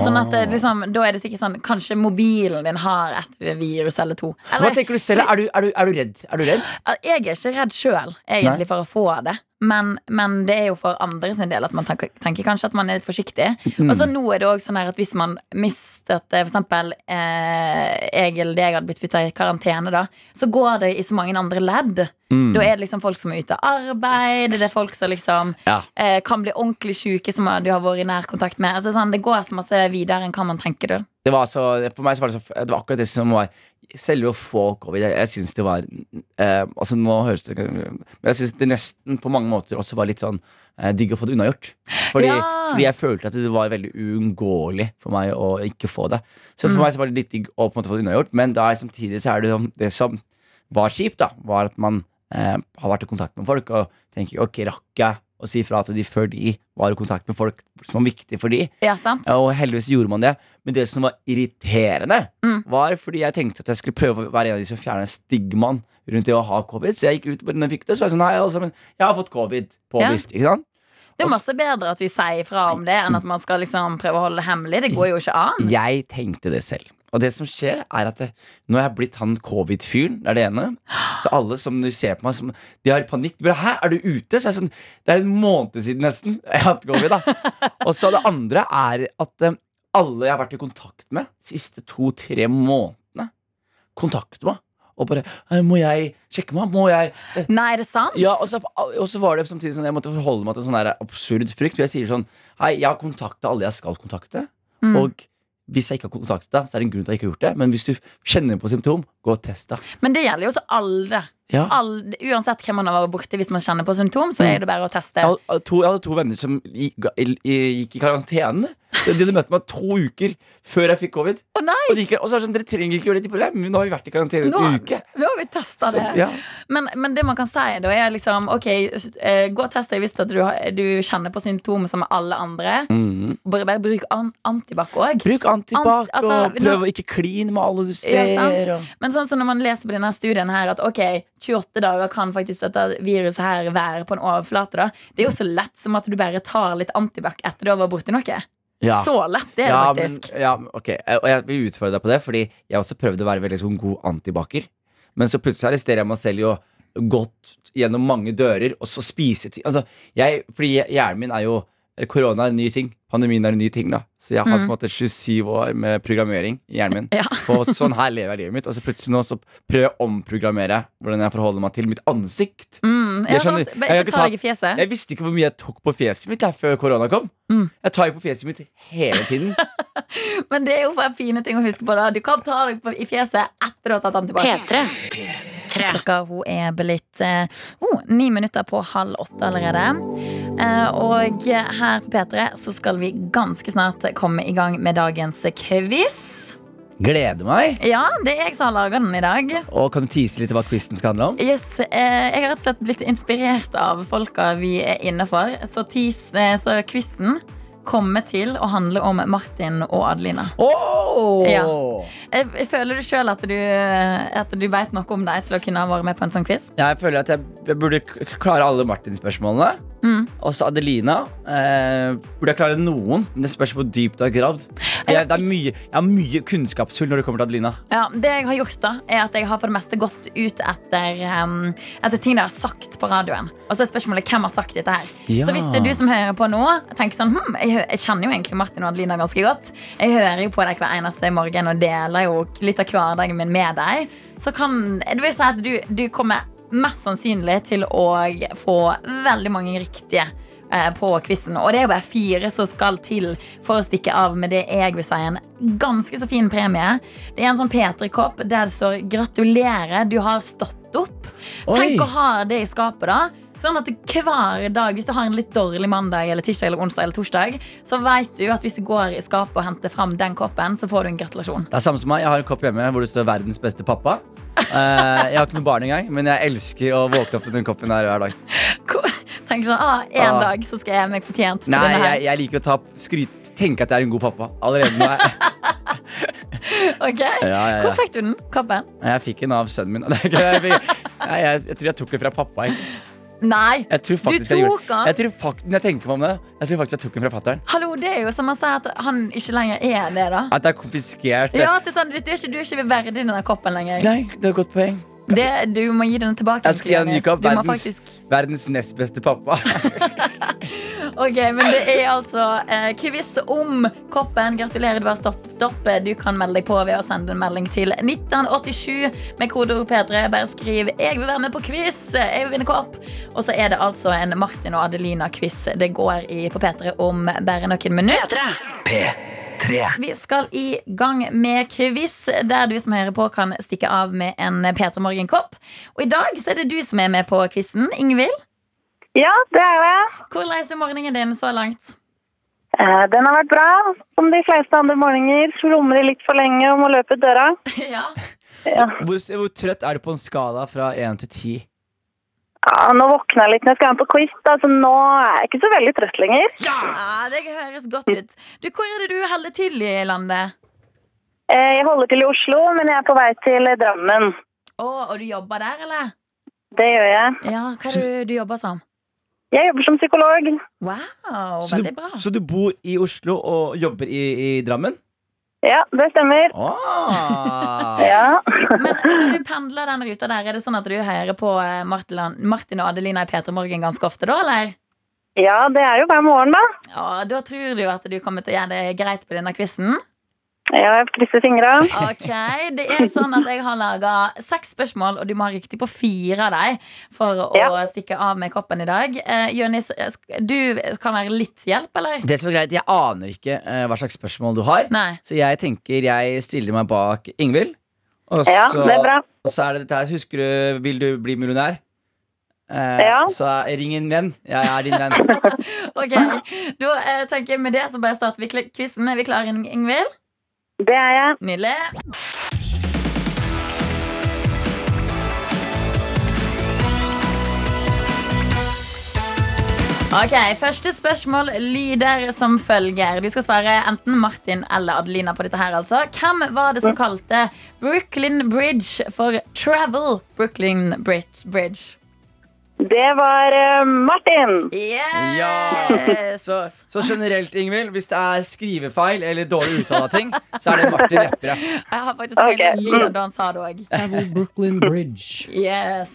Speaker 2: Sånn at
Speaker 3: Ah.
Speaker 2: det, liksom, Da er det sikkert sånn Kanskje mobilen din har et virus eller to.
Speaker 3: hva
Speaker 2: Eller, eh,
Speaker 3: tenker du selv? Er du, er du, er du redd? Er du redd?
Speaker 2: jeg er ikke redd sjøl, egentlig, for å få det. Men, men det er jo for andre sin del at man tenker, tenker kanskje at man er litt forsiktig.
Speaker 3: Mm.
Speaker 2: Og så nå er det også sånn her at hvis man mistet eh, for eksempel eh, jeg eller deg hadde blitt putta i karantene, da, så går det i så mange andre ledd.
Speaker 3: Mm.
Speaker 2: Da er det liksom folk som er ute av arbeid, det er folk som liksom
Speaker 3: Ja.
Speaker 2: eh, kan bli ordentlig sjuke som du har vært i nær kontakt med. Altså, sånn, det går så masse videre enn hva man tenker. Da.
Speaker 3: Det var så, for meg så var det, så, det var akkurat det som var Selve å få covid Jeg, jeg syns det var eh, Altså nå høres det Men jeg syns det nesten på mange måter også var litt sånn eh, digg å få det unnagjort. Fordi,
Speaker 2: Ja.
Speaker 3: fordi jeg følte at det var veldig uunngåelig for meg å ikke få det. Så for meg så var det litt digg å på en måte få det unnagjort, men da er samtidig så er det jo det som var kjipt, da, var at man eh, har vært i kontakt med folk og tenker ok, rakk jeg å si fra til de før de var i kontakt med folk som var viktig for de?
Speaker 2: Ja, sant?
Speaker 3: Ja, Og heldigvis gjorde man det. Men det som var irriterende,
Speaker 2: Mm.
Speaker 3: var fordi jeg tenkte at jeg skulle prøve å være en av de som fjerner stigmaen rundt det å ha covid. Så jeg gikk ut på den jeg fikk det, så var jeg sånn Hei, alle sammen, jeg har fått covid. Påvist. Ikke sant?
Speaker 2: Det er
Speaker 3: Og s-
Speaker 2: masse bedre at vi sier fra om det, enn at man skal liksom prøve å holde det hemmelig. Det går jo ikke an.
Speaker 3: Jeg tenkte det selv. Og det som skjer, er at det, nå er jeg blitt han covid-fyren. Det er det ene. Så alle som de ser på meg, som, de har panikk. De bare, Hæ, er du ute? Så jeg er sånn, Det er en måned siden nesten jeg har hatt covid. da Og så det andre er at eh, alle jeg har vært i kontakt med siste to-tre månedene, kontakter meg. Og bare «Eh, Må jeg sjekke meg? Må jeg
Speaker 2: Nei, er det sant?
Speaker 3: ja, og så, og så var det samtidig sånn Jeg måtte forholde meg til sånn der absurd frykt. For jeg sier sånn Hei, jeg har kontakta alle jeg skal kontakte.
Speaker 2: Mm.
Speaker 3: Og hvis jeg ikke har kontaktet deg, så er det en grunn til at jeg ikke har gjort det. Men hvis du kjenner på symptom, gå og test deg.
Speaker 2: Men det gjelder jo også alle.
Speaker 3: Ja.
Speaker 2: Alle- uansett hvem man har vært borte hvis man kjenner på symptom, så
Speaker 3: Mm.
Speaker 2: er det bare å teste.
Speaker 3: Jeg hadde to, jeg hadde to venner som gikk, gikk i karantene. De hadde møtt meg to uker før jeg fikk covid.
Speaker 2: Å nei!
Speaker 3: Og, de gikk, og så er det sånn, dere trenger ikke gjøre det til problem. men Nå har vi vært i karantene
Speaker 2: Nå,
Speaker 3: i en uke.
Speaker 2: nå har vi testa det.
Speaker 3: Så, ja.
Speaker 2: Men, men det man kan si, da, er liksom OK, s- eh, gå og test deg hvis at du, har- du kjenner på symptomer som alle andre.
Speaker 3: mm.
Speaker 2: Bare, bare bruk an antibac òg.
Speaker 3: Bruk antibac
Speaker 2: Ant- altså,
Speaker 3: og prøv å ikke kline med alle du ser.
Speaker 2: sant.
Speaker 3: og...
Speaker 2: Men sånn som når man leser på denne studien her at ok, 28 dager kan faktisk dette viruset her være på en overflate, da. Det er jo så lett som at du bare tar litt antibac etter du har vært borti noe.
Speaker 3: Ja.
Speaker 2: Så lett det er det
Speaker 3: ja,
Speaker 2: faktisk.
Speaker 3: Men, ja, men ok, Og jeg vil utfordre deg på det, fordi jeg også prøvde å være veldig sånn god antibaker. Men så plutselig arresterer jeg meg selv jo gått gjennom mange dører og så spise ting. Altså, jeg, fordi hjernen min er jo eh, Korona er en ny ting. Pandemien er en ny ting, da. Så jeg har på en måte 27 år med programmering i hjernen min.
Speaker 2: Mm. Ja.
Speaker 3: På sånn her lever jeg livet mitt. Og så plutselig nå så prøver jeg å omprogrammere hvordan jeg forholder meg til mitt ansikt.
Speaker 2: Mm, ja,
Speaker 3: Jeg skjønner.
Speaker 2: sant.
Speaker 3: Jeg
Speaker 2: Bare
Speaker 3: har ikke
Speaker 2: ikke ta deg i fjeset.
Speaker 3: Jeg visste ikke hvor mye jeg tok på fjeset mitt der før korona kom.
Speaker 2: Mm.
Speaker 3: Jeg tar jo på fjeset mitt hele tiden.
Speaker 2: Men det er jo for fine ting å huske på. da Du kan ta deg på- i fjeset etter du har tatt antibac.
Speaker 7: P3.
Speaker 2: Klokka hun er blitt eh, oh, ni minutter på halv åtte allerede. Eh, og her på P3 så skal vi ganske snart komme i gang med dagens quiz.
Speaker 3: Gleder meg.
Speaker 2: Ja, det er jeg som har laga den i dag.
Speaker 3: Og kan du tease litt hva quizen skal handle om?
Speaker 2: Yes, eh, Jeg har rett og slett blitt inspirert av folka vi er inne for. Så, tis, eh, så quizen kommer til å handle om Martin og Adelina.
Speaker 3: Oh!
Speaker 2: Ja. Jeg, jeg føler du sjøl at du, eh, at du veit noe om deg til å kunne ha vært med på en sånn quiz?
Speaker 3: Jeg føler at jeg, jeg burde k- klare alle Martin-spørsmålene.
Speaker 2: Mm.
Speaker 3: Også Adelina. Eh, burde jeg klare noen? Men det spørs hvor dypt du har gravd. Jeg, det er mye, jeg har mye kunnskapshull når det kommer til Adelina.
Speaker 2: Ja, det jeg har gjort da, er at jeg har for det meste gått ut etter, em, etter ting de har sagt på radioen. Og så er spørsmålet hvem har sagt dette her.
Speaker 3: Ja.
Speaker 2: Så hvis det er du som hører på nå, tenker sånn, hm, jeg, hø- jeg kjenner jo egentlig Martin og Adelina ganske godt. Jeg hører jo på deg hver eneste morgen og deler jo litt av hverdagen min med deg. Så kan det vil si at du, du kommer mest sannsynlig til å få veldig mange riktige eh, på quizen. Og det er jo bare fire som skal til for å stikke av med det jeg vil si er en ganske så fin premie. Det er en sånn P3-kopp der det står 'Gratulerer, du har stått opp'.
Speaker 3: Oi.
Speaker 2: Tenk å ha det i skapet, da. Sånn at hver dag, Hvis du har en litt dårlig mandag, eller tirsdag, eller onsdag eller torsdag, så vet du at hvis du går i skapet og henter fram den koppen, så får du en gratulasjon.
Speaker 3: Det er samme som meg, Jeg har en kopp hjemme hvor det står 'Verdens beste pappa'. Eh, jeg har ikke noe barn engang, men jeg elsker å våkne opp til den koppen her hver dag.
Speaker 2: Ko- Tenk sånn, ah, En
Speaker 3: Ah.
Speaker 2: dag så skal jeg gjøre meg fortjent til
Speaker 3: Nei,
Speaker 2: denne her.
Speaker 3: jeg, jeg liker å ta skryt, tenke at jeg er en god pappa allerede nå. er Jeg,
Speaker 2: Ok?
Speaker 3: ja, ja.
Speaker 2: Hvor fikk du den koppen?
Speaker 3: jeg fikk en av sønnen min. Det er ikke- Jeg, jeg, jeg, jeg tror jeg tok det fra pappa. Jeg.
Speaker 2: Nei!
Speaker 3: Jeg tror faktisk
Speaker 2: Du
Speaker 3: jeg
Speaker 2: tok
Speaker 3: gjorde
Speaker 2: den?
Speaker 3: Jeg tror fakt, når jeg tenker meg om det Jeg tror faktisk jeg tok den fra fatteren
Speaker 2: Hallo, det er jo som å si at han ikke lenger er det, da.
Speaker 3: At jeg er konfiskert
Speaker 2: Ja, at det er sånn, du, er ikke, du er ikke verdig denne koppen lenger.
Speaker 3: Nei, det er et godt poeng
Speaker 2: Det, du må gi den tilbake.
Speaker 3: Jeg skal gi en ny
Speaker 2: Johannes.
Speaker 3: kopp
Speaker 2: Du må
Speaker 3: verdens,
Speaker 2: faktisk-
Speaker 3: verdens nest beste pappa
Speaker 2: Ok, men det er altså eh, quiz om koppen. Gratulerer, du har stoppet opp. Du kan melde deg på ved å sende en melding til 1987 med kodeord P3. Bare skriv 'Jeg vil være med på quiz'. Jeg vil vinne kopp. Og så er det altså en Martin og Adelina-quiz. Det går i på P3 om bare noen minutter.
Speaker 7: P3.
Speaker 2: Vi skal i gang med quiz, der du som hører på kan stikke av med en P3 Morgen-kopp. Og i dag så er det du som er med på quizen, Ingvild.
Speaker 8: Ja, det er det.
Speaker 2: Hvordan er morgenen din så langt?
Speaker 8: Eh, Den har vært bra, som de fleste andre morgener. Slumrer litt for lenge og må løpe ut døra.
Speaker 2: ja.
Speaker 3: hvor, hvor trøtt er du på en skala fra 1 til 10?
Speaker 8: Ja, nå våkna jeg litt når jeg skal være med på quiz, da, så nå er jeg ikke så veldig trøtt lenger.
Speaker 2: ja, det høres godt ut. Du, Hvor er det du holder til i landet?
Speaker 8: Eh, Jeg holder til i Oslo, men jeg er på vei til eh, Drammen.
Speaker 2: Å, og du jobber der, eller?
Speaker 8: Det gjør jeg.
Speaker 2: Ja, hva er det du jobber som?
Speaker 8: Jeg jobber som psykolog.
Speaker 2: Wow,
Speaker 3: Så du,
Speaker 2: veldig bra.
Speaker 3: så du bor i Oslo og jobber i, i Drammen?
Speaker 8: Ja, det stemmer.
Speaker 3: Ah.
Speaker 8: Ja.
Speaker 2: Men eh, når du pendler den ruta der, er det sånn at du hører på eh, Martin Martin og Adelina i P3 Morgen ganske ofte da, eller?
Speaker 8: ja, det er jo hver morgen, da.
Speaker 2: Ja, da tror du at du kommer til å gjøre det greit på denne quizen.
Speaker 8: Ja, jeg krysser fingra.
Speaker 2: Ok, det er sånn at jeg har laget seks spørsmål, og du må ha riktig på fire av dem for å
Speaker 8: Ja.
Speaker 2: stikke av med koppen i dag. Eh, Jonis, eh, sk- du kan være litt hjelp, eller?
Speaker 3: Det som er greit, Jeg aner ikke eh, hva slags spørsmål du har,
Speaker 2: Nei.
Speaker 3: så jeg tenker jeg stiller meg bak Ingvild. Og
Speaker 8: Ja,
Speaker 3: så,
Speaker 8: det er bra.
Speaker 3: og så er det dette her. Husker du 'Vil du bli millionær'? Eh,
Speaker 8: Ja.
Speaker 3: Så er- ring en venn. Jeg er din venn.
Speaker 2: Ok, da eh, tenker jeg med det så bare starter vi kl- quizen. Er vi klare, Ing- Ingvild?
Speaker 8: Det er jeg.
Speaker 2: Nydelig. Ok, Første spørsmål lyder som følger. Du skal svare enten Martin eller Adelina på dette. her altså Hvem var det som kalte Brooklyn Bridge for Travel Brooklyn Bridge? Bridge?
Speaker 8: Det var eh, Martin.
Speaker 2: Yes!
Speaker 3: Ja! Så, så generelt, Ingvild, hvis det er skrivefeil eller dårlig uttale av ting, så er det Martin Lepperød.
Speaker 2: Jeg har faktisk okay.
Speaker 8: Ok.
Speaker 2: en lyd av da han sa det òg.
Speaker 9: Brooklyn Bridge.
Speaker 2: Yes.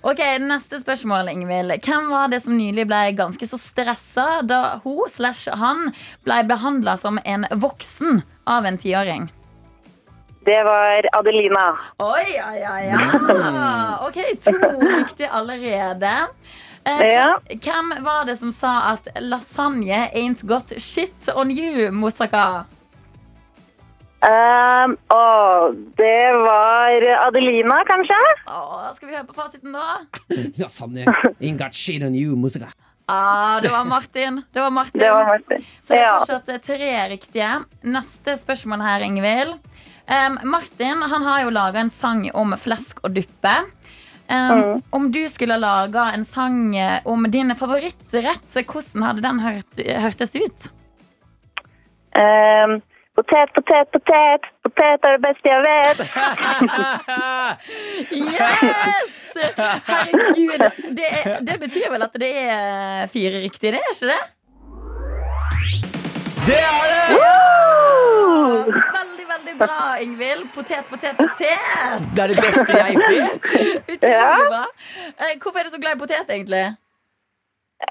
Speaker 2: Ok, Neste spørsmål, Ingvild. Hvem var det som nylig ble ganske så stressa da hun slash han ble behandla som en voksen av en tiåring?
Speaker 8: Det var Adelina.
Speaker 2: Oi, ja, ja, ja. Ok, to riktig allerede. Eh,
Speaker 8: Ja.
Speaker 2: Hvem var det som sa at lasagne ain't got shit on you, Moussaka?
Speaker 8: Um, og det var Adelina, kanskje?
Speaker 2: Åh, skal vi høre på fasiten da?
Speaker 9: Lasagne. Ain't got shit on you, musica.
Speaker 2: Ah, det var Martin. Det var Martin.
Speaker 8: Det var Martin.
Speaker 2: Så det er
Speaker 8: Ja.
Speaker 2: fortsatt tre riktige. Neste spørsmål her, Ingvild. Um, Martin han har jo laga en sang om flesk og duppe. Um, Om du skulle laga en sang eh, om din favorittrett, hvordan hadde den hørt, hørtes ut?
Speaker 8: Um, potet, potet, potet. Potet er det beste jeg vet.
Speaker 2: Yes! Herregud. Det, er- det betyr vel at det er fire riktige, det? er ikke det?
Speaker 3: Det er det!
Speaker 2: Veldig, veldig bra, Ingvild. Potet, potet, potet.
Speaker 3: Det er det beste jeg vet.
Speaker 2: Utrolig bra. Eh, Hvorfor er du så glad i potet, egentlig?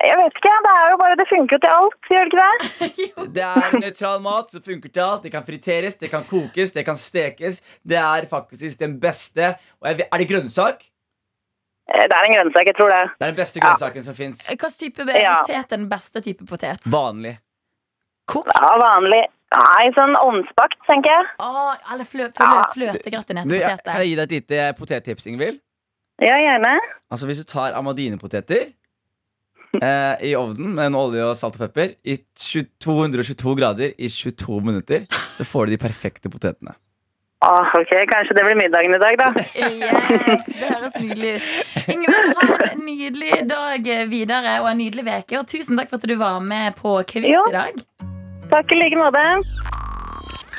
Speaker 8: Jeg vet ikke, det er jo bare Det funker jo til alt, gjør det ikke det?
Speaker 3: Det er nøytral mat som funker til alt. Det kan friteres, det kan kokes, det kan stekes. Det er faktisk den beste. Og jeg, vet- er det grønnsak?
Speaker 8: Eh, Det er en grønnsak, jeg tror det.
Speaker 3: Det er den beste grønnsaken som fins.
Speaker 2: Hvilken type
Speaker 8: Ja.
Speaker 2: potet er den beste type potet?
Speaker 3: Vanlig.
Speaker 2: Kokt?
Speaker 8: Ja, vanlig. Nei, sånn ovnsbakt, tenker jeg.
Speaker 2: Å, Ah, eller flø, flø,
Speaker 8: Ja.
Speaker 3: Du, jeg,
Speaker 2: fløtegratinert
Speaker 3: kan jeg
Speaker 2: potet?
Speaker 3: gi deg et lite potettips, Ingvild?
Speaker 8: Ja, gjerne.
Speaker 3: Altså, hvis du tar amadinepoteter eh, i ovnen med en olje og salt og pepper i 20 222 grader i 22 minutter, så får du de perfekte potetene.
Speaker 8: Åh, ok, kanskje det blir middagen i dag, da.
Speaker 2: Yes, det høres nydelig ut. Ingvild, ha en nydelig dag videre og en nydelig uke. Og tusen takk for at du var med på quiz
Speaker 8: Ja.
Speaker 2: i dag.
Speaker 8: Takk i like måte.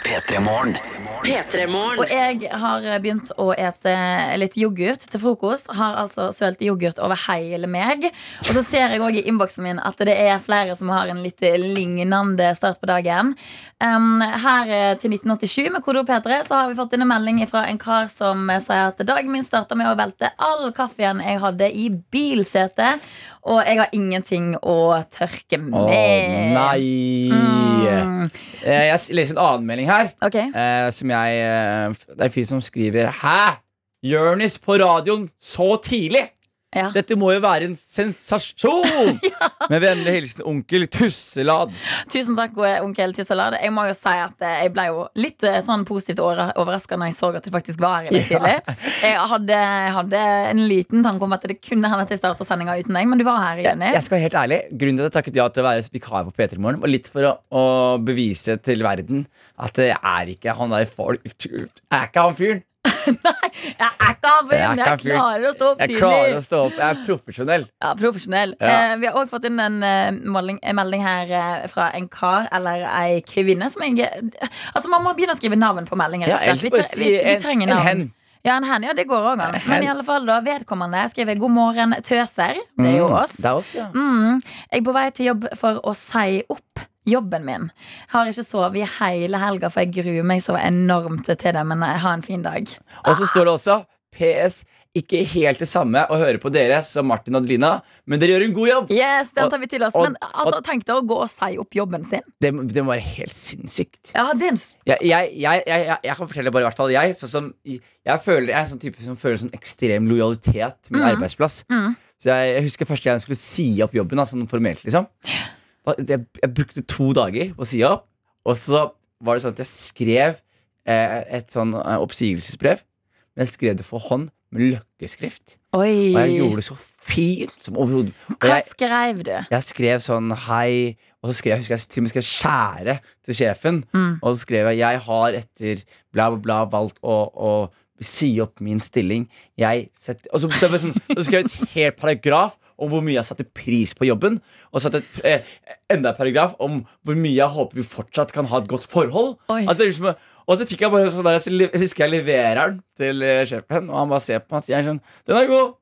Speaker 6: P3-morgen.
Speaker 7: P3-morgen.
Speaker 2: Og jeg har begynt å ete litt yoghurt til frokost. Har altså sølt yoghurt over hele meg. Og så ser jeg også i innboksen min at det er flere som har en litt lignende start på dagen. Um, her eh, til 1987 med Kodo P3 så har vi fått inn en melding fra en kar som eh, sier at dagen min starta med å velte all kaffen jeg hadde i bilsetet, og jeg har ingenting å tørke med.
Speaker 3: Å nei!
Speaker 2: Mm.
Speaker 3: Eh, jeg s- leser en annen melding her.
Speaker 2: Ok.
Speaker 3: eh, som jeg eh, f- Det er en fyr som skriver Hæ? Jørnis på radioen så tidlig!
Speaker 2: Ja.
Speaker 3: Dette må jo være en sensasjon! Med vennlig hilsen onkel Tusseladd.
Speaker 2: Tusen takk, onkel Tissalad. Jeg må jo si at eh, jeg ble jo litt eh, sånn positivt overraska når jeg så at det faktisk var her litt tidlig. Jeg hadde, hadde en liten tanke om at det kunne hende at jeg starta sendinga uten deg, men du var her, Jenny.
Speaker 3: Jeg skal være helt ærlig Grunnen til at jeg takket ja til å være vikar på P3 Morgen, var litt for å, å bevise til verden at jeg er ikke han der folk Jeg er ikke han fyren.
Speaker 2: Jeg er ikke av
Speaker 3: Jeg er
Speaker 2: byen!
Speaker 3: ikke
Speaker 2: Jeg
Speaker 3: av byen.
Speaker 2: klarer å stå opp
Speaker 3: Jeg klarer å
Speaker 2: tidlig.
Speaker 3: stå opp. Jeg er profesjonell.
Speaker 2: Ja, Profesjonell.
Speaker 3: Ja.
Speaker 2: Eh, vi har òg fått inn en eh, melding, en melding her eh, fra en kar eller ei kvinne som jeg Altså, man må begynne å skrive navn på meldinger.
Speaker 3: Ja,
Speaker 2: rett og slett.
Speaker 3: ellers bare
Speaker 2: tre- vi,
Speaker 3: si
Speaker 2: vi
Speaker 3: en,
Speaker 2: trenger
Speaker 3: en
Speaker 2: navn.
Speaker 3: hen.
Speaker 2: Ja, en hen, ja, det går òg an.
Speaker 3: En hen.
Speaker 2: Men i alle fall da, vedkommende skriver 'God
Speaker 3: Mm,
Speaker 2: morgen, tøser'. Det er jo oss.
Speaker 3: Det er oss, ja.
Speaker 2: Mm. Jeg er på vei til jobb for å si opp. jobben min. Har ikke sovet i hele helga, for jeg gruer meg så enormt til det. Men eh, ha en fin dag.
Speaker 3: Og så står det også PS. Ikke helt det samme å høre på dere som Martin og Adelina, men dere gjør en god jobb.
Speaker 2: Yes, den
Speaker 3: Og-
Speaker 2: tar vi til oss.
Speaker 3: og-
Speaker 2: Men altså, tenk deg å gå og si opp jobben sin.
Speaker 3: Det, må- det må være helt sinnssykt.
Speaker 2: Ja, det er en
Speaker 3: Jeg, jeg, jeg, jeg, jeg, jeg kan fortelle bare i hvert fall jeg. Sånn som, jeg, føler, jeg er en sånn type som føler sånn ekstrem lojalitet til min arbeidsplass. Så jeg, jeg husker første gang jeg skulle si opp jobben, da, sånn formelt, liksom. Da, jeg, jeg brukte to dager på å si opp, og så var det sånn at jeg skrev eh, et sånn eh, oppsigelsesbrev, men jeg skrev det for hånd med løkkeskrift. Og jeg
Speaker 2: Oi.
Speaker 3: gjorde det så fint som overhodet. Og
Speaker 2: Hva
Speaker 3: jeg,
Speaker 2: skrev du?
Speaker 3: jeg skrev sånn hei, og så skrev jeg, husker jeg til og med skrev skjære til sjefen.
Speaker 2: Mm.
Speaker 3: Og så skrev jeg jeg har etter bla, bla, bla valgt å, å si opp min stilling. Jeg setter, og så, det var sånn, så skrev jeg et helt paragraf om hvor mye jeg satte pris på jobben. Og satte et, eh, enda et paragraf om hvor mye jeg håper vi fortsatt kan ha et godt forhold.
Speaker 2: Oi.
Speaker 3: Altså, det er liksom, og så fikk jeg bare sånn der, så le- husker jeg leverer den til eh, sjefen, og han bare ser på meg og sier sånn Den er god!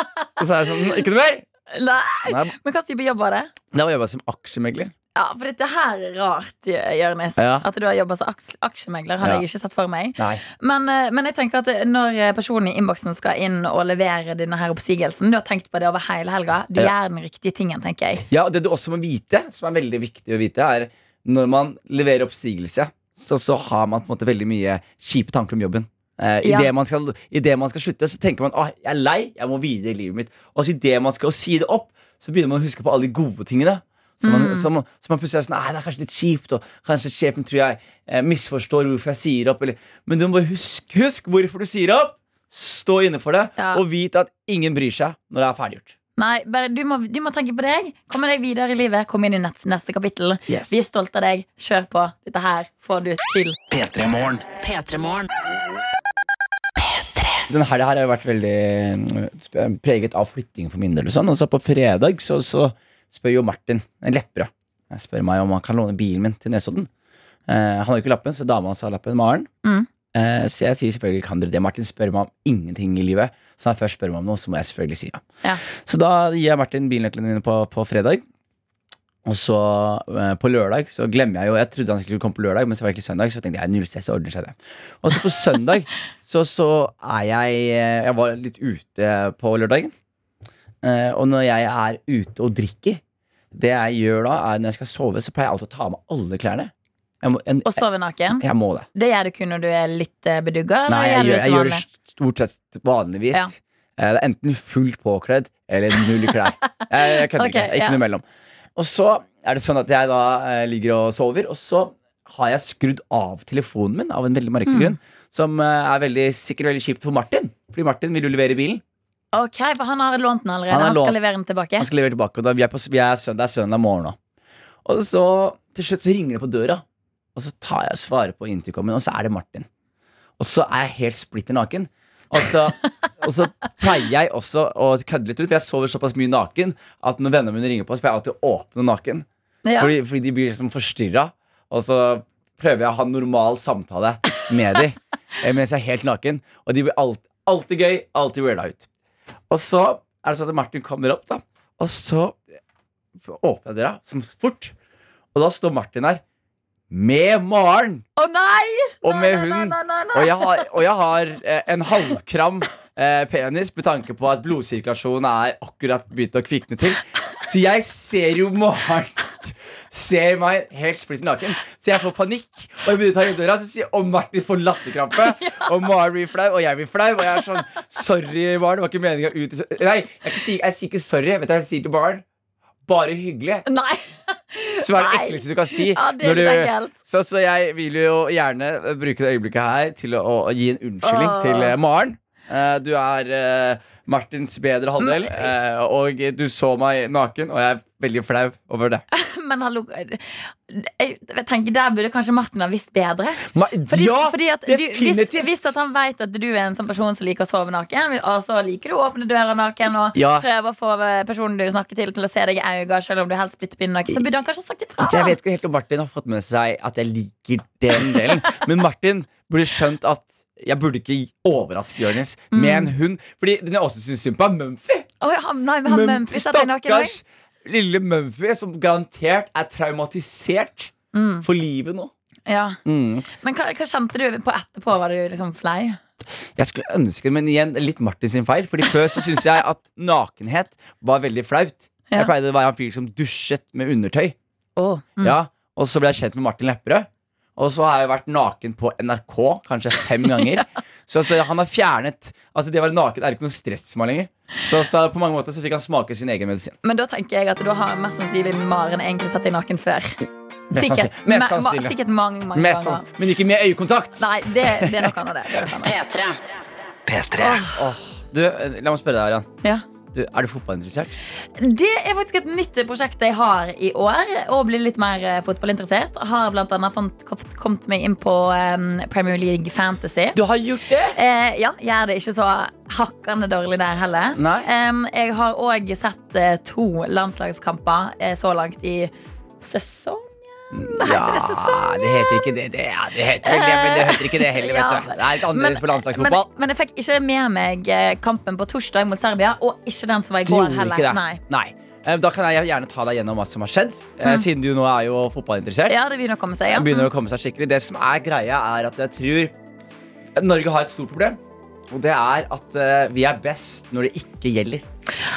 Speaker 3: Og så er jeg sånn Ikke noe mer!
Speaker 2: Nei.
Speaker 3: Nei,
Speaker 2: Men hva type jobb var det?
Speaker 3: da var jeg jobba som aksjemegler.
Speaker 2: Ja, for dette her er rart, Jø- Jørnis.
Speaker 3: Ja.
Speaker 2: At du har jobba som aks aksjemegler, hadde
Speaker 3: Ja.
Speaker 2: jeg ikke sett for meg.
Speaker 3: Nei.
Speaker 2: Men, eh, men jeg tenker at eh, når eh, personen i innboksen skal inn og levere denne her oppsigelsen Du har tenkt på det over hele helga. Du
Speaker 3: Ja.
Speaker 2: gjør den riktige tingen, tenker jeg.
Speaker 3: Ja, og Det du også må vite, som er veldig viktig å vite, er når man leverer oppsigelse, så, så har man på en måte veldig mye kjipe tanker om jobben. Eh, i,
Speaker 2: Ja.
Speaker 3: det man skal, I det man skal slutte, så tenker man at ah, jeg er lei, jeg må videre i livet mitt. Og så i det man skal si det opp, så begynner man å huske på alle de gode tingene. Så man,
Speaker 2: Mm.
Speaker 3: så man, så man plutselig er sånn Nei, det er kanskje litt kjipt, og kanskje sjefen tror jeg eh, misforstår hvorfor jeg sier opp. Eller, men du må bare huske, husk hvorfor du sier opp. Stå inne for det,
Speaker 2: Ja.
Speaker 3: og vit at ingen bryr seg når det er ferdiggjort.
Speaker 2: Nei, bare, du, må, du må tenke på deg. Komme deg videre i livet. Kom inn i nett, neste kapittel.
Speaker 3: Yes.
Speaker 2: Vi er stolte av deg. Kjør på. Dette her får du til.
Speaker 6: P3 Morgen.
Speaker 7: P3morgen.
Speaker 3: Den helga her har jo vært veldig mm, preget av flytting for min del. Og sånn Og så på fredag så, så spør jo Martin eh, Lepperød Jeg spør meg om han kan låne bilen min til Nesodden. Eh, han har jo ikke lappen, så dama hans har lappen. Maren.
Speaker 2: Mm.
Speaker 3: Eh, så jeg sier selvfølgelig kan dere det. Martin spør meg om ingenting i livet. Så når han først spør meg om noe, så må jeg selvfølgelig si ja.
Speaker 2: Ja.
Speaker 3: Så da gir jeg Martin bilnøklene mine på, på fredag. Og så eh, på lørdag så glemmer jeg jo Jeg trodde han skulle komme på lørdag, men så var det ikke søndag. Så tenkte jeg null stress, det ordner seg det. Og så på søndag så, så er jeg eh, Jeg var litt ute på lørdagen. Eh, og når jeg er ute og drikker, det jeg gjør da, er når jeg skal sove, så pleier jeg alltid å ta av meg alle klærne. Jeg må, en,
Speaker 2: Og sove naken.
Speaker 3: jeg må det.
Speaker 2: Det gjør du kun når du er litt eh, bedugga? eller
Speaker 3: Nei,
Speaker 2: gjør
Speaker 3: jeg
Speaker 2: du
Speaker 3: gjør, jeg gjør
Speaker 2: til
Speaker 3: det
Speaker 2: vanlig?
Speaker 3: stort sett vanligvis.
Speaker 2: Ja.
Speaker 3: Eh, Det er enten fullt påkledd eller null i klær. Jeg, jeg kødder
Speaker 2: Ok,
Speaker 3: ikke. Ikke
Speaker 2: ja.
Speaker 3: noe mellom. Og så er det sånn at jeg da eh, ligger og sover, og så har jeg skrudd av telefonen min av en veldig
Speaker 2: Mm.
Speaker 3: merkelig grunn. Som eh, er veldig, sikkert veldig kjipt for Martin, fordi Martin vil jo levere bilen.
Speaker 2: Ok, for han har lånt den allerede.
Speaker 3: Han
Speaker 2: Han,
Speaker 3: har lånt-
Speaker 2: skal levere den tilbake.
Speaker 3: Han skal levere tilbake, og da, vi er på, vi er søndag, det er søndag morgen nå. Og så til slutt så ringer det på døra, og så tar jeg og svarer på intercomen, og så er det Martin. Og så er jeg helt splitter naken. Og så, og så pleier jeg også å kødde litt ut, for jeg sover såpass mye naken at når vennene mine ringer på, så pleier jeg alltid å åpne naken.
Speaker 2: Ja.
Speaker 3: Fordi, fordi de blir liksom forstyrra, og så prøver jeg å ha normal samtale med de eh, mens jeg er helt naken. Og de blir alt, alltid gøy, alltid weirda ut. Og så er det sånn at Martin kommer opp, da. Og så åpner jeg døra sånn fort. Og da står Martin der med Maren
Speaker 2: Å nei!
Speaker 3: og med
Speaker 2: nei,
Speaker 3: hund.
Speaker 2: nei, nei, nei.
Speaker 3: Og jeg har, og jeg har eh, en halvkram eh, penis med tanke på at blodsirkulasjonen er akkurat begynt å kvikne til. Så jeg ser jo Maren ser meg helt splitter naken. Så jeg får panikk. Og jeg begynner å ta i døra Så sier og Martin får latterkrampe. Og Maren blir flau, og jeg blir flau. Og jeg er sånn Sorry, Maren. Det var ikke meninga å ut Nei, jeg, kan si, jeg sier ikke sorry. Vet du hva jeg sier til Maren? Bare hyggelig.
Speaker 2: Nei.
Speaker 3: Som er det
Speaker 2: Nei.
Speaker 3: ekleste du kan si.
Speaker 2: Ja, det er
Speaker 3: når
Speaker 2: litt
Speaker 3: du,
Speaker 2: ekkelt.
Speaker 3: så, så jeg vil jo gjerne eh, bruke det øyeblikket her til å, å gi en unnskyldning
Speaker 2: Åh.
Speaker 3: til eh, Maren. Eh, du er eh, Martins bedre halvdel, eh, og du så meg naken, og jeg er veldig flau over det.
Speaker 2: Men hallo jeg, jeg tenker Der burde kanskje Martin ha visst bedre.
Speaker 3: Ma
Speaker 2: Fordi,
Speaker 3: ja,
Speaker 2: fordi at du, hvis,
Speaker 3: definitivt!
Speaker 2: hvis at han vet at du er en sånn person som liker å sove naken, og så liker du å åpne døra naken og
Speaker 3: Ja.
Speaker 2: prøve å få eh, personen du snakker til, til å se deg i øynene, selv om du helst blitt pinne naken, så burde han kanskje ha sagt ifra.
Speaker 3: Jeg vet ikke helt om Martin har fått med seg at jeg liker den delen. Men Martin burde skjønt at jeg burde ikke overraske Jonis
Speaker 2: Mm.
Speaker 3: med en hund. Fordi den jeg også syns synd på, er Mumphy.
Speaker 2: Oi, han, nei, men han
Speaker 3: Men
Speaker 2: Mumphy satt i naken.
Speaker 3: stakkars lille Mumphy, som garantert er traumatisert
Speaker 2: Mm.
Speaker 3: for livet nå.
Speaker 2: Ja.
Speaker 3: Mm.
Speaker 2: Men hva, hva kjente du på etterpå? Var du liksom flau?
Speaker 3: Jeg skulle ønske det, men igjen litt Martin sin feil. Fordi før så syntes jeg at nakenhet var veldig flaut.
Speaker 2: Ja.
Speaker 3: Jeg pleide å være han fyr som dusjet med undertøy.
Speaker 2: Å,
Speaker 3: Ja, og så ble jeg kjent med Martin Lepperød. Og så har jeg vært naken på NRK kanskje fem ganger. så, så han har fjernet Altså Det å være naken er ikke noe stress for meg lenger. Så, så på mange måter så fikk han smake sin egen medisin.
Speaker 2: Men da tenker jeg at da har mest sannsynlig Maren egentlig sett deg naken før. Sikkert.
Speaker 3: sannsynlig. Mest
Speaker 2: Ma- ma-
Speaker 3: sannsynlig.
Speaker 2: Sikkert mange, mange
Speaker 3: Mest
Speaker 2: ganger.
Speaker 3: sans, men ikke med øyekontakt!
Speaker 2: Nei, det, det er nok annet, det. det, er nok annet.
Speaker 7: P3.
Speaker 6: P3
Speaker 3: Du, eh, La meg spørre deg, Arian.
Speaker 2: Ja.
Speaker 3: Du, er du fotballinteressert?
Speaker 2: Det er faktisk et nytt prosjekt jeg har i år. Å bli litt mer eh, fotballinteressert. Har blant annet fant, kom- kommet meg inn på eh, Premier League Fantasy.
Speaker 3: Du har gjort det!
Speaker 2: Eh, ja, gjør det ikke så hakkande dårlig der heller.
Speaker 3: Nei.
Speaker 2: Em, jeg har òg sett eh, to landslagskamper eh, så langt i sesong. Heter det sesong?
Speaker 3: det heter ikke det. Det, ja, det heter vel det, men det heter ikke det heller,
Speaker 2: sånn. Eh, Ja.
Speaker 3: vet du. Det er litt annerledes på landslagsfotball.
Speaker 2: Men, men jeg fikk ikke med meg eh, kampen på torsdag mot Serbia, og ikke den som var i
Speaker 3: Du
Speaker 2: går
Speaker 3: gjorde
Speaker 2: heller.
Speaker 3: ikke det.
Speaker 2: Nei.
Speaker 3: Eh, Da kan jeg gjerne ta deg gjennom hva som har skjedd, eh, siden du nå er jo fotballinteressert.
Speaker 2: Mm. Ja, det begynner å komme seg. Ja.
Speaker 3: Det begynner å komme seg skikkelig. Det som er greia, er at jeg tror Norge har et stort problem. Og det er at eh, vi er best når det ikke gjelder.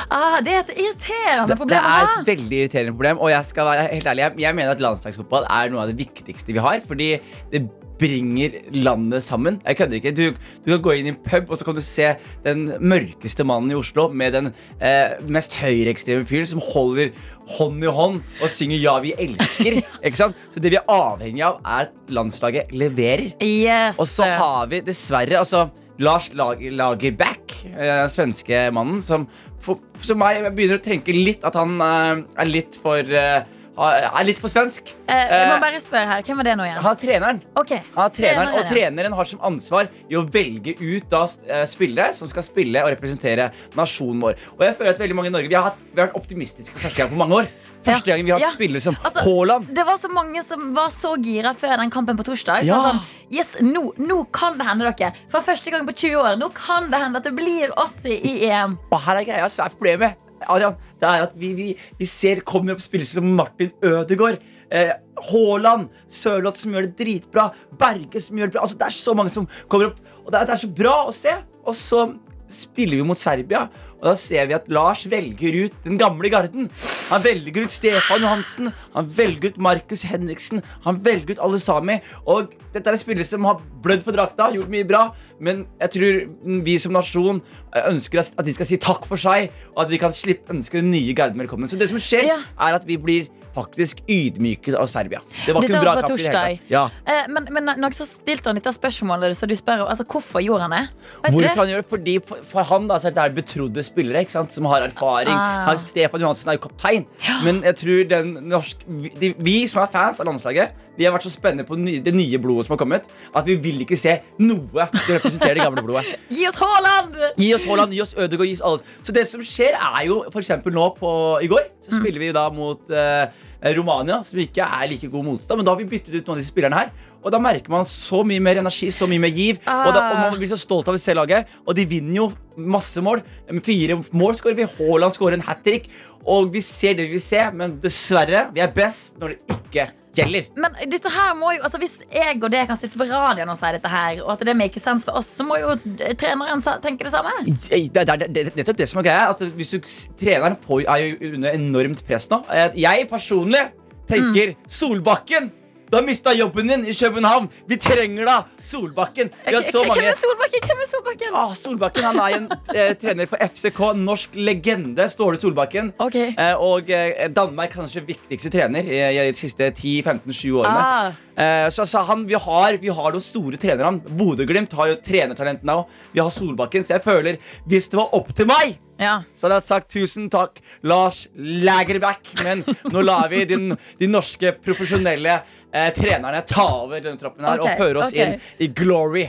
Speaker 2: Ah, det er et irriterende
Speaker 3: Det
Speaker 2: problem Ah! å
Speaker 3: er
Speaker 2: ha.
Speaker 3: et veldig irriterende problem. Og jeg skal være helt ærlig, jeg, jeg mener at landslagsfotball er noe av det viktigste vi har. Fordi det bringer landet sammen. Jeg kødder ikke. Du, du kan gå inn i en pub, og så kan du se den mørkeste mannen i Oslo med den eh, mest høyreekstreme fyren som holder hånd i hånd og synger 'Ja, vi elsker'. ikke sant? Så det vi er avhengig av, er at landslaget leverer.
Speaker 2: Yes.
Speaker 3: Og så har vi dessverre altså, Lars Lag Lagerbäck, eh, svenske mannen, som for, som meg begynner å tenke litt at han eh, er litt for eh, er litt for svensk.
Speaker 2: eh, jeg må
Speaker 3: eh,
Speaker 2: bare spørre her, Hvem var det nå igjen?
Speaker 3: Han er treneren.
Speaker 2: Ok.
Speaker 3: Han er treneren, og
Speaker 2: Treneren, ja.
Speaker 3: treneren har som ansvar i å velge ut da eh, spillere som skal spille og representere nasjonen vår. Og jeg føler at veldig mange i Norge Vi har, hatt, vi har vært optimistiske for første gang på mange år. Første
Speaker 2: Ja.
Speaker 3: gangen vi har
Speaker 2: Ja.
Speaker 3: spillere som
Speaker 2: Altså,
Speaker 3: Haaland.
Speaker 2: Det var så mange som var så gira før den kampen på torsdag. Så
Speaker 3: Ja.
Speaker 2: sånn, yes, nå, nå kan det hende dere. For første gang på 20 år. Nå kan det hende at det blir oss i, i EM.
Speaker 3: Og her er greia som er problemet. Adrian, det er at vi, vi, vi ser kommer opp spillere som Martin Ødegaard. eh, Haaland, Sørloth som gjør det dritbra, Berge som gjør det bra. Altså, det er så mange som kommer opp, og det er, det er så bra å se. Og så spiller vi mot Serbia, og da ser vi at Lars velger ut den gamle garden. Han velger ut Stefan Johansen, han velger ut Markus Henriksen, han velger ut alle sami. Og dette er spillere som har blødd for drakta, gjort mye bra, men jeg tror vi som nasjon eh, ønsker at de skal si takk for seg, og at vi kan slippe ønske den nye garden velkommen. Så det som skjer,
Speaker 2: Ja.
Speaker 3: er at vi blir faktisk ydmyket av Serbia. Det var
Speaker 2: Dette
Speaker 3: ikke
Speaker 2: var
Speaker 3: en bra
Speaker 2: på
Speaker 3: kamp i det hele
Speaker 2: torsdag.
Speaker 3: tatt. Ja.
Speaker 2: Eh, men, men når jeg så stilte han litt av spørsmålet, så du spør altså, hvorfor gjorde han det. Vet du det?
Speaker 3: Hvorfor han gjør det? Fordi for, for han da, så er det her betrodde spillere ikke sant? som har erfaring.
Speaker 2: Ah.
Speaker 3: Han, Stefan Johansen er jo kaptein. Men jeg tror den norsk, vi, de, vi som er fans av landslaget, Vi har vært så spennende på ny, det nye blodet som har kommet, at vi vil ikke se noe som representerer det gamle blodet.
Speaker 2: Gi oss Haaland!
Speaker 3: Gi oss Haaland, gi oss Ødegaard, gi oss alle. Så det som skjer, er jo for eksempel nå på i går, så spiller vi da mot eh, Romania, som ikke er like god motstand, men da har vi byttet ut noen av disse spillerne her. Og da merker man så mye mer energi, så mye mer giv. Og, da, og man blir så stolt av C-laget, og de vinner jo masse mål. Med Fire mål skårer vi, Haaland skårer en hat trick. Og vi ser det vi vil se, men dessverre, vi er best når det ikke gjelder.
Speaker 2: Men dette her må jo, altså hvis jeg og det kan sitte på radioen og si dette her, og at det makes sense for oss, så må jo eh, treneren sa- tenke det samme.
Speaker 3: Jeg- Det er det, det, det, nettopp det som er greia. Altså, hvis du, s- treneren på, er jo under enormt press nå. Eh, Jeg personlig tenker Solbakken! Du har mista jobben din i København! Vi trenger deg! Solbakken! Vi har så
Speaker 2: Hvem
Speaker 3: mange
Speaker 2: er Solbakken? Hvem er Solbakken?
Speaker 3: Ah, Solbakken han er en eh, trener for FCK, norsk legende, Ståle Solbakken.
Speaker 2: Ok.
Speaker 3: Eh, og eh, Danmark kanskje viktigste trener i, i de siste 10-15-7 årene.
Speaker 2: Ah.
Speaker 3: Eh, så så han, vi, har, vi har noen store trenere. han. Bodø-Glimt har jo trenertalent nå. Vi har Solbakken, så jeg føler hvis det var opp til meg
Speaker 2: Ja.
Speaker 3: så hadde jeg sagt tusen takk, Lars Lagerbäck. Men nå lar vi din, de norske profesjonelle eh, trenerne ta over denne troppen her
Speaker 2: Ok,
Speaker 3: og føre oss
Speaker 2: ok.
Speaker 3: inn i glory.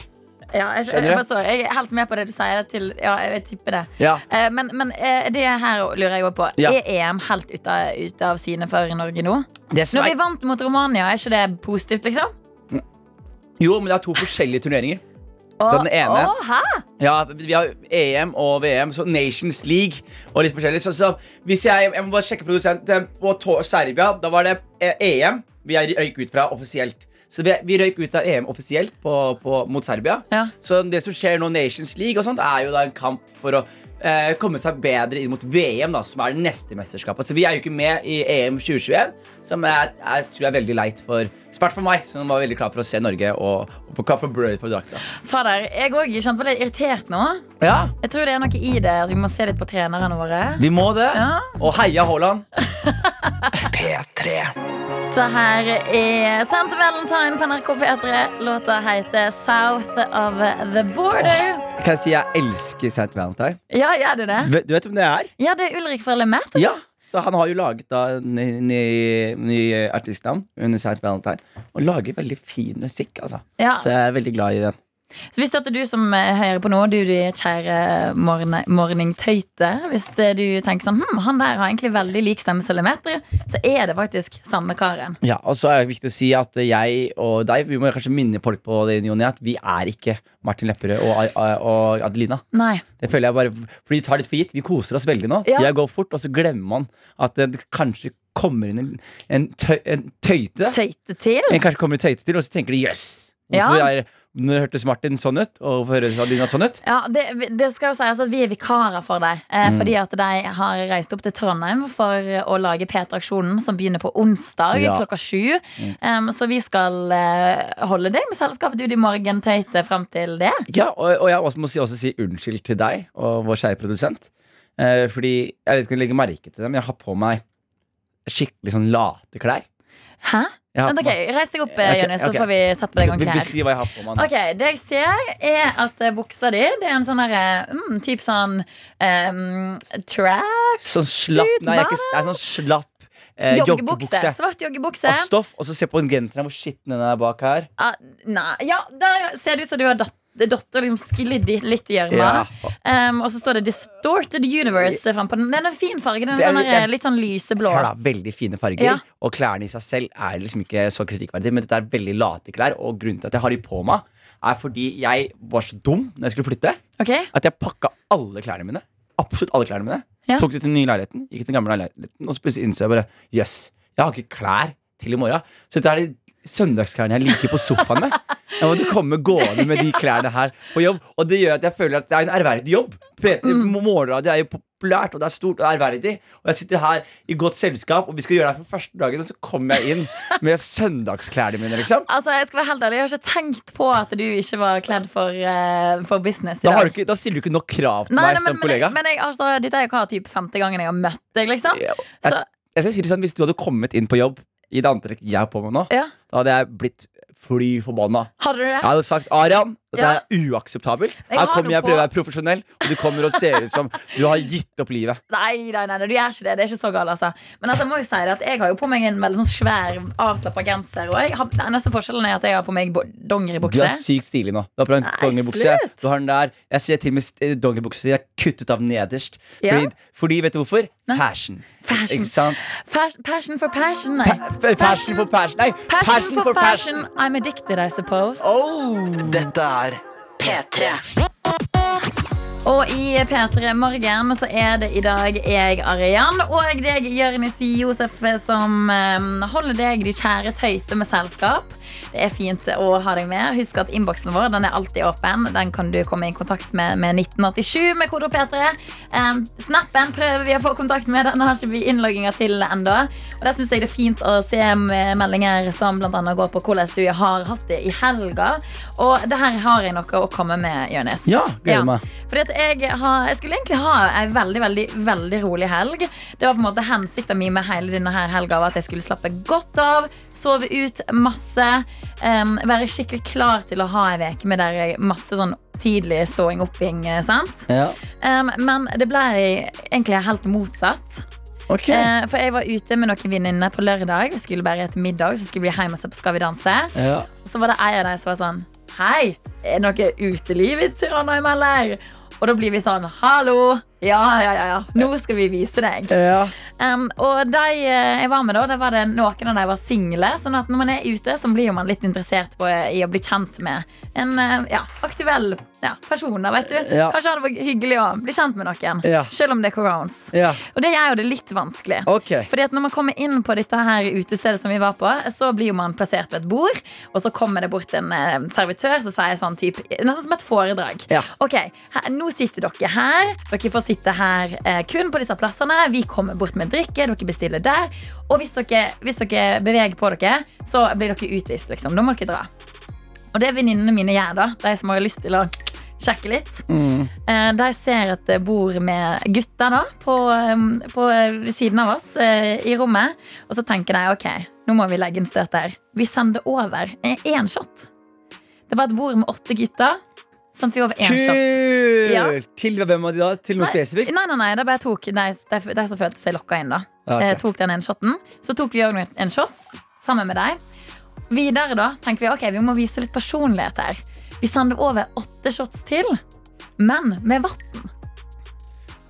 Speaker 2: Ja, jeg,
Speaker 3: Skjønner
Speaker 2: jeg,
Speaker 3: du?
Speaker 2: forstår. jeg er helt med på det du sier. Til, ja, jeg tipper det.
Speaker 3: Ja.
Speaker 2: Eh, men men eh, det her lurer jeg også på.
Speaker 3: Ja.
Speaker 2: Er EM helt ute av, ut av sine for Norge nå?
Speaker 3: Det som
Speaker 2: Når
Speaker 3: er-
Speaker 2: vi vant mot Romania, er ikke det positivt, liksom?
Speaker 3: Jo, men det er to forskjellige turneringer. Så den ene
Speaker 2: Å, hæ?
Speaker 3: Ja, vi har EM og VM, så Nations League og litt forskjellig. Så, så hvis jeg, jeg må bare sjekke produsenten på to- Serbia. Da var det eh, EM vi er- røyk ut fra offisielt. Så vi, vi røyk ut av EM offisielt på, på, mot Serbia.
Speaker 2: Ja.
Speaker 3: Så det som skjer nå, Nations League og sånt, er jo da en kamp for å eh, komme seg bedre inn mot VM, da, som er det neste mesterskapet. Så vi er jo ikke med i EM 2021, som jeg, jeg tror er veldig leit for Spart for meg, som var veldig klar for å se Norge og, og på Cup of Brød for drakta.
Speaker 2: Fader, jeg òg kjente på litt irritert nå.
Speaker 3: Ja,
Speaker 2: Jeg tror det er noe i det at vi må se litt på trenerne våre.
Speaker 3: Vi må det.
Speaker 2: Ja.
Speaker 3: Og heia Haaland.
Speaker 6: P3
Speaker 2: Så her er Santa Valentine på NRK P3. Låta heter South of the Border.
Speaker 3: Kan jeg si jeg elsker St. Valentine?
Speaker 2: Ja, gjør du det?
Speaker 3: Vet- Du vet hvem det er?
Speaker 2: Ja, det er Ulrik fra Lemet.
Speaker 3: Ja. Så han har jo laget da ny, ny, ny artistnavn under St. Valentine. Og lager veldig fin musikk, altså.
Speaker 2: Ja.
Speaker 3: Så jeg er veldig glad i den.
Speaker 2: Så hvis det er du som eh, hører på nå, du, du kjære morne- morningtøyte Hvis det du tenker sånn hm, han der har egentlig veldig lik stemme som Lemet, så er det faktisk samme karen.
Speaker 3: Ja, Og så er det viktig å si at jeg og deg Vi må kanskje minne folk på det, Jonny, at vi er ikke Martin Lepperød og, og Adelina.
Speaker 2: Nei.
Speaker 3: Det føler jeg bare, for de tar litt for gitt. Vi koser oss veldig nå.
Speaker 2: Ja.
Speaker 3: Tida går fort, og så glemmer man at det kanskje kommer inn en, en, tøy, en tøyte.
Speaker 2: Tøyte til.
Speaker 3: En kanskje kommer i tøyte til, og så tenker de jøss!
Speaker 2: Ja.
Speaker 3: Hvorfor er- Når hørtes Martin sånn ut? Og hvorfor høres Adelina sånn ut?
Speaker 2: Ja, det, det skal jo sies at vi er vikarer for deg. Eh,
Speaker 3: Mm.
Speaker 2: Fordi at de har reist opp til Trondheim for å lage P3-aksjonen, som begynner på onsdag
Speaker 3: Ja. Mm.
Speaker 2: klokka sju. Em, så vi skal eh, holde deg med selskap, du, de morgentøyte, fram til det.
Speaker 3: Ja, og, og jeg også må si, også si unnskyld til deg og vår kjære produsent. Eh, fordi jeg vet ikke om du legger merke til det, men jeg har på meg skikkelig sånn late klær.
Speaker 2: Hæ?
Speaker 3: Jeg har
Speaker 2: Vent,
Speaker 3: på
Speaker 2: ok, Reis deg opp, eh,
Speaker 3: Ok,
Speaker 2: Jonny, så
Speaker 3: ok.
Speaker 2: får vi sette på deg
Speaker 3: meg-
Speaker 2: gang klær.
Speaker 3: Beskriv hva jeg har på meg nå.
Speaker 2: Ok, Det jeg ser, er at eh, buksa di Det er en sånn herre mm, Typ sånn um, trash
Speaker 3: Sånn slapp Nei, jeg er ikke, det er sånn slapp eh,
Speaker 2: Joggebukse.
Speaker 3: joggebukse.
Speaker 2: Svart joggebukse.
Speaker 3: Av stoff. Og så se på den genseren hvor skitten den er bak her.
Speaker 2: Ah, nei, ja, der ser det ut som du har datt Dott og liksom sklidd i- litt i
Speaker 3: Ja.
Speaker 2: gjørma. Um, og så står det 'Distorted Universe' frem på den. Den er en fin farge. Den
Speaker 3: Det
Speaker 2: er
Speaker 3: er-
Speaker 2: sånn
Speaker 3: det er-
Speaker 2: her, litt sånn lyseblå.
Speaker 3: Hør da, veldig fine farger,
Speaker 2: Ja.
Speaker 3: og klærne i seg selv er liksom ikke så kritikkverdig, men dette er veldig late klær, og grunnen til at jeg har de på meg, er fordi jeg var så dum når jeg skulle flytte,
Speaker 2: Ok?
Speaker 3: at jeg pakka alle klærne mine, absolutt alle klærne mine,
Speaker 2: Ja.
Speaker 3: tok det til den nye leiligheten, gikk til den gamle leiligheten, og så plutselig innså jeg bare, jøss, jeg har ikke klær til i morgen, så dette er de søndagsklærne jeg liker på sofaen med. Jeg måtte komme gående med de klærne her på jobb, og det gjør at jeg føler at det er en ærverdig jobb. P3
Speaker 2: Mm.
Speaker 3: Morgenradio er jo populært, og det er stort, og det er ærverdig, og jeg sitter her i godt selskap, og vi skal gjøre det her for første dagen, og så kommer jeg inn med søndagsklærne mine, liksom.
Speaker 2: Altså, Jeg skal være helt ærlig, jeg har ikke tenkt på at du ikke var kledd for, eh, for business i
Speaker 3: Da,
Speaker 2: dag.
Speaker 3: har du ikke, da stiller du ikke nok krav til meg som
Speaker 2: men, men,
Speaker 3: kollega.
Speaker 2: jeg- men jeg, altså, dette er jo hva typ femte gangen jeg har møtt deg, liksom.
Speaker 3: Ja, jeg-
Speaker 2: Så,
Speaker 3: Jeg skal si det sånn, Hvis du hadde kommet inn på jobb i det antrekket jeg har på meg nå,
Speaker 2: ja,
Speaker 3: da hadde jeg blitt fly forbanna.
Speaker 2: Hadde du det?
Speaker 3: Jeg hadde sagt Arian, dette
Speaker 2: Ja.
Speaker 3: er uakseptabelt.
Speaker 2: har
Speaker 3: Her kommer
Speaker 2: noe
Speaker 3: jeg og prøver å
Speaker 2: på.
Speaker 3: være profesjonell, og du kommer og ser ut som du har gitt opp livet.
Speaker 2: Nei, nei, nei, nei, du gjør ikke det. Det er ikke så galt, altså. Men altså, jeg må jo si det at jeg har jo på meg en veldig sånn svær, avslappa genser. Og jeg har, den eneste forskjellen er at jeg har på meg bo-
Speaker 3: Du er
Speaker 2: dongeribukse.
Speaker 3: sykt stilig nå. Du har på deg en
Speaker 2: Nei,
Speaker 3: dongeribukse.
Speaker 2: slutt.
Speaker 3: Du har den der. Jeg ser til og med st- eh, dongeribukse jeg er kuttet av nederst.
Speaker 2: Ja.
Speaker 3: Fordi, fordi, vet du hvorfor? Fashion.
Speaker 2: Fashion.
Speaker 3: Ikke sant?
Speaker 2: Fas- Passion for passion, nei.
Speaker 3: Pa- fa- Fashion for passion. Nei,
Speaker 2: Passion
Speaker 3: passion for fashion.
Speaker 2: I'm addicted, I suppose.
Speaker 6: Dette er
Speaker 7: P3.
Speaker 2: Og i P3 Morgen så er det i dag jeg, Arian, og deg, Jørnis Josef, som eh, holder deg, de kjære tøyte, med selskap. Det er fint å ha deg med. Husk at innboksen vår den er alltid åpen. Den kan du komme i kontakt med med 1987 med kode P3. Um, snappen prøver vi å få kontakt med. Den har ikke vi innlogginga til ennå. Og der syns jeg det er fint å se med meldinger som bl.a. går på hvordan du har hatt det i helga. Og det her har jeg noe å komme med, Jørnis.
Speaker 3: Ja, gleder meg.
Speaker 2: Fordi at jeg, har, jeg skulle egentlig ha ei veldig veldig, veldig rolig helg. Det var på en måte hensikten min med hele denne her helga var at jeg skulle slappe godt av, sove ut masse, em, være skikkelig klar til å ha ei uke med der jeg masse sånn tidlig ståing opping. eh, sant?
Speaker 3: Ja.
Speaker 2: Em, men det ble egentlig helt motsatt.
Speaker 3: Ok.
Speaker 2: Eh, for jeg var ute med noen venninner på lørdag. Vi skulle bare spise middag, så skulle vi hjem og se på Skal vi danse.
Speaker 3: Ja.
Speaker 2: Så var det ei av de som var sånn Hei, er det noe uteliv i Trondheim, eller? Og da blir vi sånn Hallo! Ja, ja, ja, ja. Nå skal vi vise deg.
Speaker 3: Ja.
Speaker 2: Em, og de eh, jeg var med da, der var det noen av de var single. Sånn at når man er ute, så blir jo man litt interessert på, eh, i å bli kjent med en eh, ja, aktuell ja, person. da, Vet du.
Speaker 3: Ja.
Speaker 2: Kanskje det var hyggelig å bli kjent med noen,
Speaker 3: Ja.
Speaker 2: selv om det er corones.
Speaker 3: Ja.
Speaker 2: Og det gjør jo det litt vanskelig.
Speaker 3: Ok.
Speaker 2: Fordi at når man kommer inn på dette her utestedet som vi var på, så blir jo man plassert ved et bord, og så kommer det bort en eh, servitør som sier sånn type Nesten som et foredrag.
Speaker 3: Ja.
Speaker 2: Ok, her, nå sitter dere her. Dere får sitte her eh, kun på disse plassene. Vi kommer bort med drikke, dere bestiller der. Og hvis dere, hvis dere beveger på dere, så blir dere utvist, liksom. Da må dere dra. Og det venninnene mine gjør, da, de som har lyst til å sjekke litt, eh, de ser et bord med gutter da, på, eh, på eh, ved siden av oss eh, i rommet. Og så tenker de ok, nå må vi legge en støt der. Vi sender over eh, én shot. Det var et bord med åtte gutter. Sånn at vi over én shot.
Speaker 3: Kult!
Speaker 2: Ja.
Speaker 3: Til hvem av de da? Til noe
Speaker 2: Nei,
Speaker 3: spesifikt?
Speaker 2: Nei, nei, nei, det bare tok de, de, de som følte seg lokka inn, da.
Speaker 3: Ja, ok.
Speaker 2: Eh, tok den ene shoten. Så tok vi òg en shot sammen med deg. Videre da tenker vi ok, vi må vise litt personlighet her. Vi sender over åtte shots til, men med vann.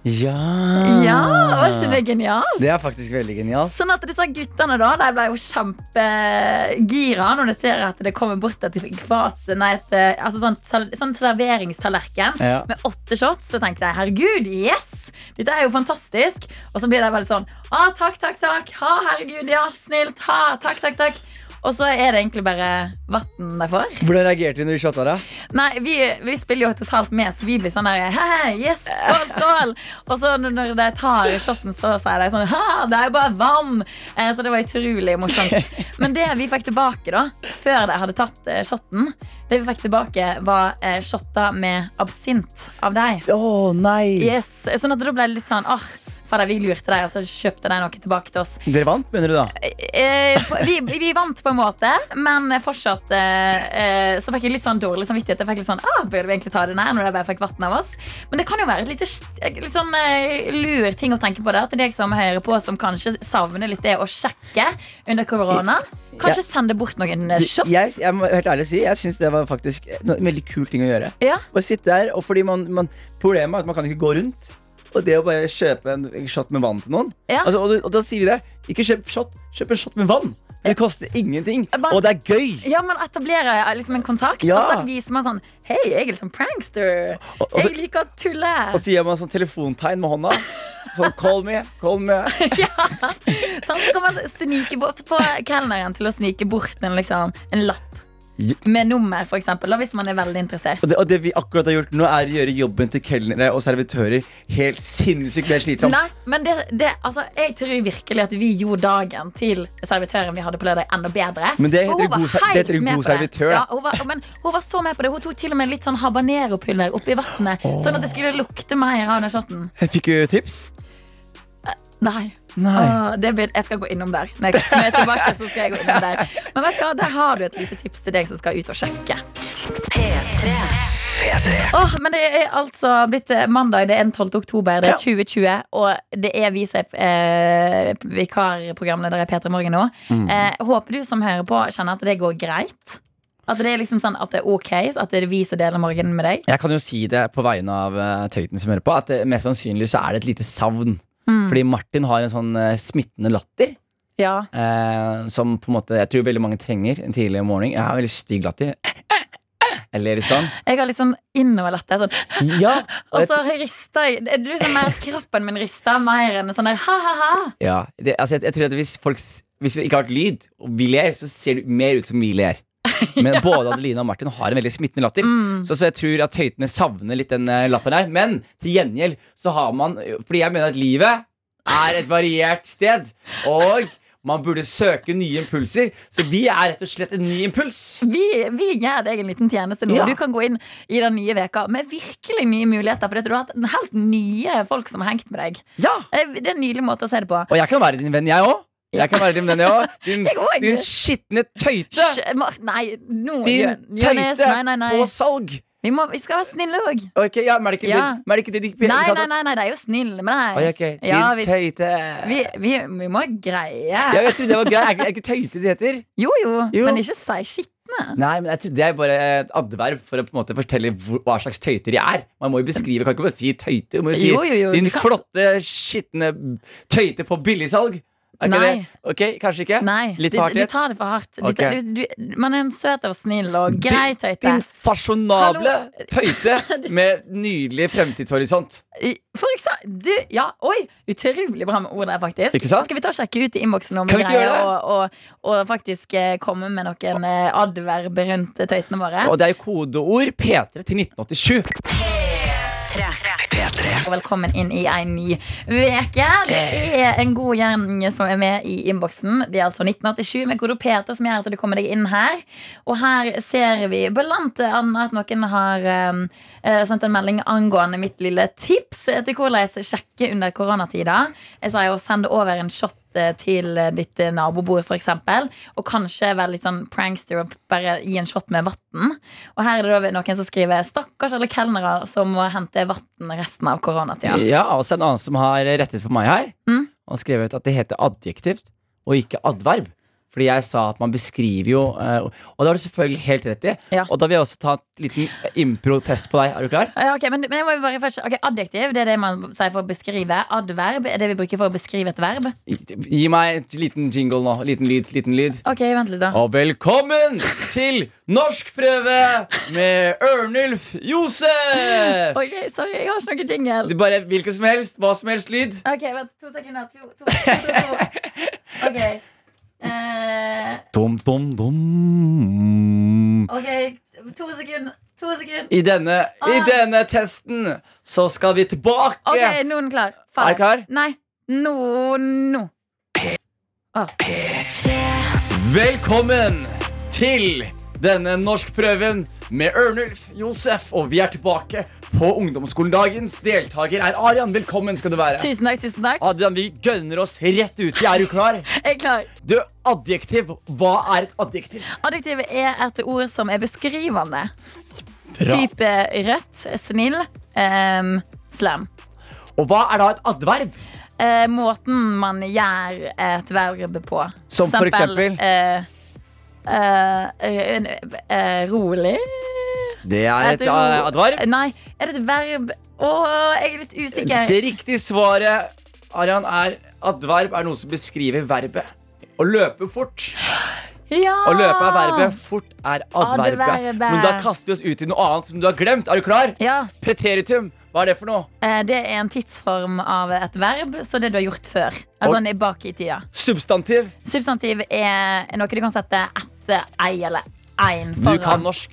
Speaker 3: Ja. Ah.
Speaker 2: Ja, var ikke det genialt?
Speaker 3: Det er faktisk veldig genialt.
Speaker 2: Sånn at disse guttene da, de ble jo kjempegira når de ser at det kommer bort et fat, nei, et, eh, altså sånn, sal- sånn serveringstallerken
Speaker 3: Ja.
Speaker 2: med åtte shots. Så tenkte jeg, herregud, yes! Dette er jo fantastisk. Og så blir de veldig sånn, ah, takk, takk, takk. Ha, herregud, ja, snilt. Ha, takk, takk, takk. Og så er det egentlig bare vann de får.
Speaker 3: Hvordan reagerte du når du shotta deg?
Speaker 2: Nei, vi, vi spiller jo totalt med, så vi blir sånn der Hei, hei, yes, skål, skål! Og så når- når de tar shotten, så sier de sånn Ha, det er jo bare vann! Eh, så det var utrolig morsomt. Men det vi fikk tilbake, da, før de hadde tatt eh, shotten, det vi fikk tilbake, var eh, shotter med absint av deg.
Speaker 3: Å nei!
Speaker 2: Yes, Sånn at da ble det litt sånn ah, Fader, vi lurte deg, og så kjøpte de noe tilbake til oss.
Speaker 3: Dere vant, mener du da?
Speaker 2: Eh, på- vi, vi vant på en måte, men fortsatt eh, eh, så fikk jeg litt sånn dårlig samvittighet. Jeg fikk litt sånn, ah, Burde vi egentlig ta den her når de bare fikk vann av oss? Men det kan jo være et lite, st- litt sånn eh, lur ting å tenke på det. Til deg som hører på, som kanskje savner litt det å sjekke under korona. Kanskje sende bort noen eh, shots?
Speaker 3: Jeg, jeg må helt ærlig si, jeg syns det var faktisk no- en veldig kul ting å gjøre.
Speaker 2: Ja.
Speaker 3: Bare sitte der, og fordi man, man Problemet er at man kan ikke gå rundt. Og det å bare kjøpe en shot med vann til noen
Speaker 2: Ja.
Speaker 3: altså, og, og da sier vi det. Ikke kjøp shot, kjøp en shot med vann. Det koster ingenting,
Speaker 2: Bare-
Speaker 3: og det er gøy.
Speaker 2: Ja, man etablerer eh, liksom en kontakt,
Speaker 3: Ja.
Speaker 2: og så viser man sånn Hei, jeg er liksom prankster.
Speaker 3: Og, og, så,
Speaker 2: jeg liker å tulle.
Speaker 3: og så gjør man sånn telefontegn med hånda. Sånn call me, call me.
Speaker 2: Sånn, så kan man snike bort på kelneren til å snike bort en, liksom, en lapp.
Speaker 3: Ja.
Speaker 2: Med nummer, for eksempel, da, hvis man er veldig interessert.
Speaker 3: Og det, og det vi akkurat har gjort nå, er å gjøre jobben til kelnere og servitører helt sinnssykt mer slitsom.
Speaker 2: Nei, men det, det, altså, Jeg tror virkelig at vi gjorde dagen til servitøren vi hadde på lørdag, enda bedre.
Speaker 3: Men det
Speaker 2: For hun
Speaker 3: heter
Speaker 2: var
Speaker 3: god ser- det
Speaker 2: helt
Speaker 3: heter en
Speaker 2: med på
Speaker 3: god
Speaker 2: det.
Speaker 3: servitør, da.
Speaker 2: Ja, hun var, men hun var så med på det. Hun tok til og med litt sånn habanero-pulver oppi vannet, sånn at det skulle lukte mer av den shoten.
Speaker 3: Jeg fikk jo tips.
Speaker 2: Nei. Åh, Ah, det blir, jeg skal gå innom der. Når jeg når jeg er tilbake, så skal jeg gå innom der. Men vet du hva, der har du et lite tips til deg som skal ut og sjekke.
Speaker 7: P3.
Speaker 2: Åh, men det er altså blitt eh, mandag, det er den 12. oktober, det er 2020, og det er vi som er eh, vikarprogramleder i P3 Morgen nå. Eh, håper du som hører på, kjenner at det går greit. At det er liksom sånn at det er ok, så at det er vi som deler morgenen med deg.
Speaker 3: Jeg kan jo si det på vegne av eh, Tøyten som hører på, at det, mest sannsynlig så er det et lite savn. Fordi Martin har en sånn eh, smittende latter
Speaker 2: Ja.
Speaker 3: eh, som på en måte jeg tror veldig mange trenger en tidlig morgen. Jeg har veldig stygg latter. Eh, Jeg ler litt sånn.
Speaker 2: Jeg har litt sånn innoverlett. jeg er Sånn.
Speaker 3: Ja, og
Speaker 2: Og
Speaker 3: jeg,
Speaker 2: så rister jeg. Det er du som mer at kroppen min rister mer enn sånn der ha-ha-ha.
Speaker 3: ja, det, altså, jeg, jeg tror at hvis folk s- Hvis vi ikke har et lyd, og vi ler, så ser det mer ut som vi ler. Men både Adeline og Martin har en veldig smittende latter.
Speaker 2: Mm.
Speaker 3: Så, så jeg tror at tøytene savner litt den eh, latteren her. Men til gjengjeld så har man Fordi jeg mener at livet er et variert sted. Og man burde søke nye impulser. Så vi er rett og slett en ny impuls.
Speaker 2: Vi, vi gjør deg en liten tjeneste nå.
Speaker 3: Ja.
Speaker 2: Du kan gå inn i den nye veka med virkelig nye muligheter. For du har hatt en helt nye folk som har hengt med deg.
Speaker 3: Ja!
Speaker 2: Eh, Det er en nydelig måte å se det på.
Speaker 3: Og jeg kan være din venn, jeg òg. Jeg kan være din venn, jeg òg. Din,
Speaker 2: Jeg òg.
Speaker 3: din skitne tøyte.
Speaker 2: Sj- Mar- Nei, nå
Speaker 3: Din
Speaker 2: Jørn- Johannes,
Speaker 3: tøyte
Speaker 2: Nei, nei, nei.
Speaker 3: på salg.
Speaker 2: Vi, må, vi skal være snille òg.
Speaker 3: Ok, ja, men er det ikke
Speaker 2: Ja.
Speaker 3: det- men er det ikke det de
Speaker 2: Nei, nei, nei, nei, de er jo snille med
Speaker 3: Oi,
Speaker 2: deg.
Speaker 3: ok. Din
Speaker 2: Ja, vi-
Speaker 3: tøyte.
Speaker 2: Vi, vi, vi må greie.
Speaker 3: Ja, jeg tror det var greit. Er ikke- Er ikke tøyte det heter?
Speaker 2: Jo, jo,
Speaker 3: Jo.
Speaker 2: men ikke si skitten.
Speaker 3: Nei, men jeg tror Det er bare eh, et adverb for å på en måte fortelle hvor, hva slags tøyter de er. Man må jo beskrive, kan ikke bare si tøyter. Man må jo si
Speaker 2: Jo, jo, jo, du
Speaker 3: din
Speaker 2: kan-
Speaker 3: flotte, skitne tøyte på billigsalg. Er ikke
Speaker 2: Nei.
Speaker 3: det? Ok, kanskje ikke?
Speaker 2: Nei,
Speaker 3: Litt
Speaker 2: du,
Speaker 3: for
Speaker 2: du
Speaker 3: hardhet?
Speaker 2: tar det for hardt. Du,
Speaker 3: Ok.
Speaker 2: du, du, man er en søt og snill og grei tøyte.
Speaker 3: Din fasjonable
Speaker 2: Hallo.
Speaker 3: tøyte med nydelig fremtidshorisont.
Speaker 2: I- For eksempel du, Ja, oi! Utrolig bra med ord der, faktisk.
Speaker 3: Ikke sant?
Speaker 2: Skal vi ta og sjekke ut i innboksen om
Speaker 3: Kan
Speaker 2: vi
Speaker 3: vi ikke
Speaker 2: greier å,
Speaker 3: gjøre
Speaker 2: og, og faktisk eh, komme med noen eh, adverb rundt eh, tøytene våre?
Speaker 3: Og det er jo kodeord P3 til 1987.
Speaker 2: Og velkommen inn i ei ny uke. Det er en god gjeng som er med i innboksen. Det er altså 1987 med Kodo Peter som gjør at du kommer deg inn her. Og her ser vi blant annet at noen har eh, eh, sendt en melding angående mitt lille tips til hvordan sjekke under koronatida. Jeg sa jo send over en shot eh, til ditt eh, nabobord, for eksempel Og kanskje være litt sånn prankster og bare gi en shot med vann. Og her er det da noen som skriver 'stakkars alle kelnere som må hente vann resten av koronatida'.
Speaker 3: Ja, og så er det en annen som har rettet på meg her.
Speaker 2: Mm.
Speaker 3: Og skrevet at det heter adjektivt og ikke adverb. Fordi jeg sa at man beskriver jo eh, Og det har du selvfølgelig helt rett i.
Speaker 2: Ja.
Speaker 3: Og da vil jeg også ta en liten impro-test på deg. Er du klar?
Speaker 2: Ja, ok, men, men jeg må jo bare først ok, Adjektiv det er det man sier for å beskrive. Adverb er det vi bruker for å beskrive et verb.
Speaker 3: Gi meg en liten jingle nå. Liten lyd. Liten lyd.
Speaker 2: Ok, vent litt, da.
Speaker 3: Og velkommen til norskprøve med Ørnulf Josef!
Speaker 2: Ok, Sorry, jeg har ikke noe jingle.
Speaker 3: Det er bare hvilken som helst, hva som helst lyd.
Speaker 2: Ok, vent, to sekunder. To, to, to, to, to. Ok. Eh,
Speaker 3: Dum, dum, dum.
Speaker 2: ok, to sekunder. To sekunder.
Speaker 3: I denne, I
Speaker 2: Ah.
Speaker 3: denne testen så skal vi tilbake.
Speaker 2: Ok, nå er den klar.
Speaker 3: Er du klar?
Speaker 2: Nei. Nå, nå.
Speaker 3: Velkommen til denne norskprøven med Ørnulf Josef. Og vi er tilbake på ungdomsskolen. Dagens deltaker er Arian. Velkommen skal du være.
Speaker 2: Tusen takk, tusen takk.
Speaker 3: Adrian, vi gønner oss rett ut. Er du klar?
Speaker 2: Jeg er klar.
Speaker 3: Du, adjektiv. Hva er et adjektiv?
Speaker 2: Adjektivet er et ord som er beskrivende. Type rødt, snill, ehm, slam.
Speaker 3: Og hva er da et adverb?
Speaker 2: Eh, måten man gjør et verb på.
Speaker 3: Som for eksempel?
Speaker 2: eh, eh, eh, eh, rolig
Speaker 3: Det er et
Speaker 2: Et ro-
Speaker 3: eh, adverb.
Speaker 2: Nei, er det et verb? Å, jeg er litt usikker.
Speaker 3: Det riktige svaret, Arian, er adverb er noe som beskriver verbet. Å løpe fort.
Speaker 2: Ja!
Speaker 3: Å løpe er
Speaker 2: Ah.
Speaker 3: verbet, fort er adverbet.
Speaker 2: Adverbet.
Speaker 3: Men da kaster vi oss ut i noe annet som du har glemt. Er du klar?
Speaker 2: Ja,
Speaker 3: Preteritum. Hva er det for noe?
Speaker 2: eh, Det er en tidsform av et verb, så det du har gjort før. Altså
Speaker 3: Og-
Speaker 2: den er bak i tida.
Speaker 3: Substantiv.
Speaker 2: Substantiv er noe du kan sette etter ei eller ein
Speaker 3: Du
Speaker 2: foran.
Speaker 3: kan norsk.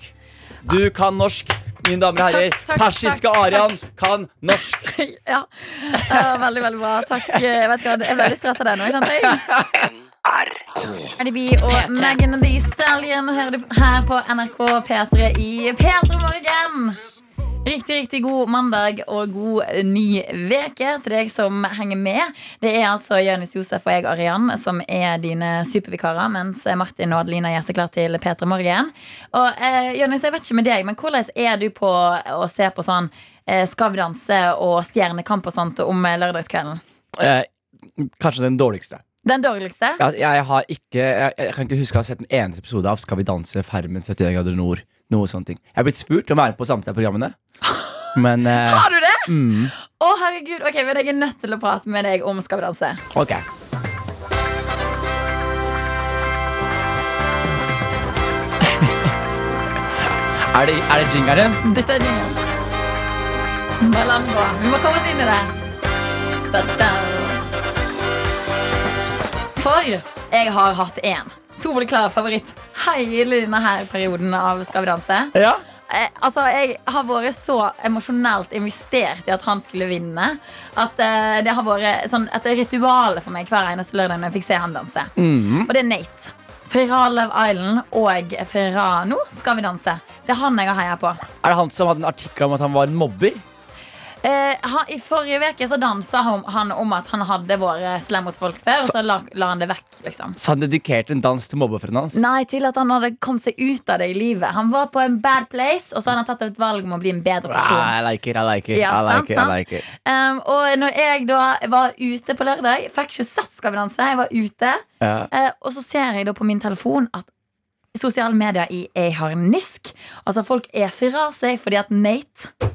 Speaker 3: Du kan norsk, mine damer og herrer.
Speaker 2: Takk, takk,
Speaker 3: Persiske
Speaker 2: takk,
Speaker 3: Arian kan norsk.
Speaker 2: ja. ja, veldig, veldig bra. Takk. Jeg vet ikke hva, jeg er veldig stressa der nå, kjente jeg. Cardi B og Megan Thee Stallion hører du her på NRK P3 i P3 Morgen. Riktig, riktig god mandag og god eh, ny veke til deg som henger med. Det er altså Jonis Josef og jeg, Arian, som er dine supervikarer, mens Martin og Adelina gjør seg klar til P3 Morgen. Og eh, Jonis, jeg vet ikke med deg, men hvordan er du på å se på sånn eh, Skal vi danse og Stjernekamp og sånt om eh, lørdagskvelden?
Speaker 3: Eh, kanskje den dårligste.
Speaker 2: Den dårligste?
Speaker 3: Jeg, jeg, har ikke, jeg, jeg kan ikke huske å ha sett en eneste episode av Skal vi danse, Farmen, 71 grader nord. Noe sånne ting. Jeg er blitt spurt om å være med på samtlige av programmene. Men eh,
Speaker 2: Har du det?
Speaker 3: mm,
Speaker 2: Å, herregud. Ok, men jeg er nødt til å prate med deg om Skal vi danse.
Speaker 3: ok. Er det, er det jingeren?
Speaker 2: Dette er din. Bare la den gå. Vi må komme oss inn i det. Da, da. For jeg har hatt én soleklar favoritt hele denne her perioden av Skal vi danse.
Speaker 3: Ja.
Speaker 2: Eh, altså, jeg har vært så emosjonelt investert i at han skulle vinne. At eh, det har vært sånn, et ritual for meg hver eneste lørdag når jeg fikk se han danse. Og det er Nate. Fra Love Island og fra Nå skal vi danse. Det er han jeg har heia på.
Speaker 3: Er det han som hadde en artikkel om at han var en mobber?
Speaker 2: Eh, han, I forrige uke så dansa han, han om at han hadde vært eh, slem mot folk før, og så la, la han det vekk. liksom
Speaker 3: Så han dedikerte en dans til mobbeofferet hans?
Speaker 2: Nei, til at han hadde kommet seg ut av det i livet. Han var på en bad place, og så hadde han tatt et valg om å bli en bedre person.
Speaker 3: Ah, I like it, I like it.
Speaker 2: Ja,
Speaker 3: I like
Speaker 2: sant,
Speaker 3: it,
Speaker 2: sant.
Speaker 3: I like it.
Speaker 2: Um, og når jeg da var ute på lørdag, fikk ikke sett Skal vi danse, jeg var ute,
Speaker 3: Ja.
Speaker 2: eh, og så ser jeg da på min telefon at sosiale medier i ei harnisk. Altså, folk er fra seg fordi at Nate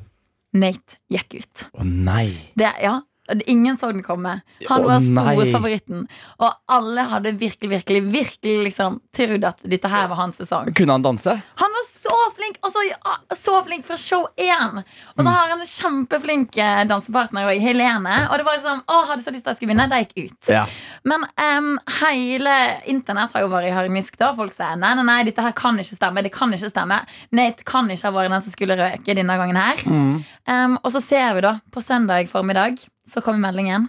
Speaker 2: Nate gikk ut.
Speaker 3: Å nei.
Speaker 2: Det, ja det- Ingen så den komme. Han
Speaker 3: Å,
Speaker 2: var store
Speaker 3: nei.
Speaker 2: favoritten. Og alle hadde virkelig, virkelig, virkelig liksom trodd at dette her var hans sesong.
Speaker 3: Kunne han danse?
Speaker 2: Han var så flink og så, så flink fra show 1. Og så
Speaker 3: Mm.
Speaker 2: har han en kjempeflink eh, dansepartner i Helene. Og det var liksom, å, hadde så lyst til at jeg skulle vinne. De gikk ut.
Speaker 3: Ja.
Speaker 2: Men em, hele internett har jo vært i harnisk. da Folk sier nei, nei, nei, dette her kan ikke stemme. Det kan ikke stemme Nate kan ikke ha vært den som skulle røke denne gangen her. Em, og så ser vi, da, på søndag formiddag, så kommer meldingen.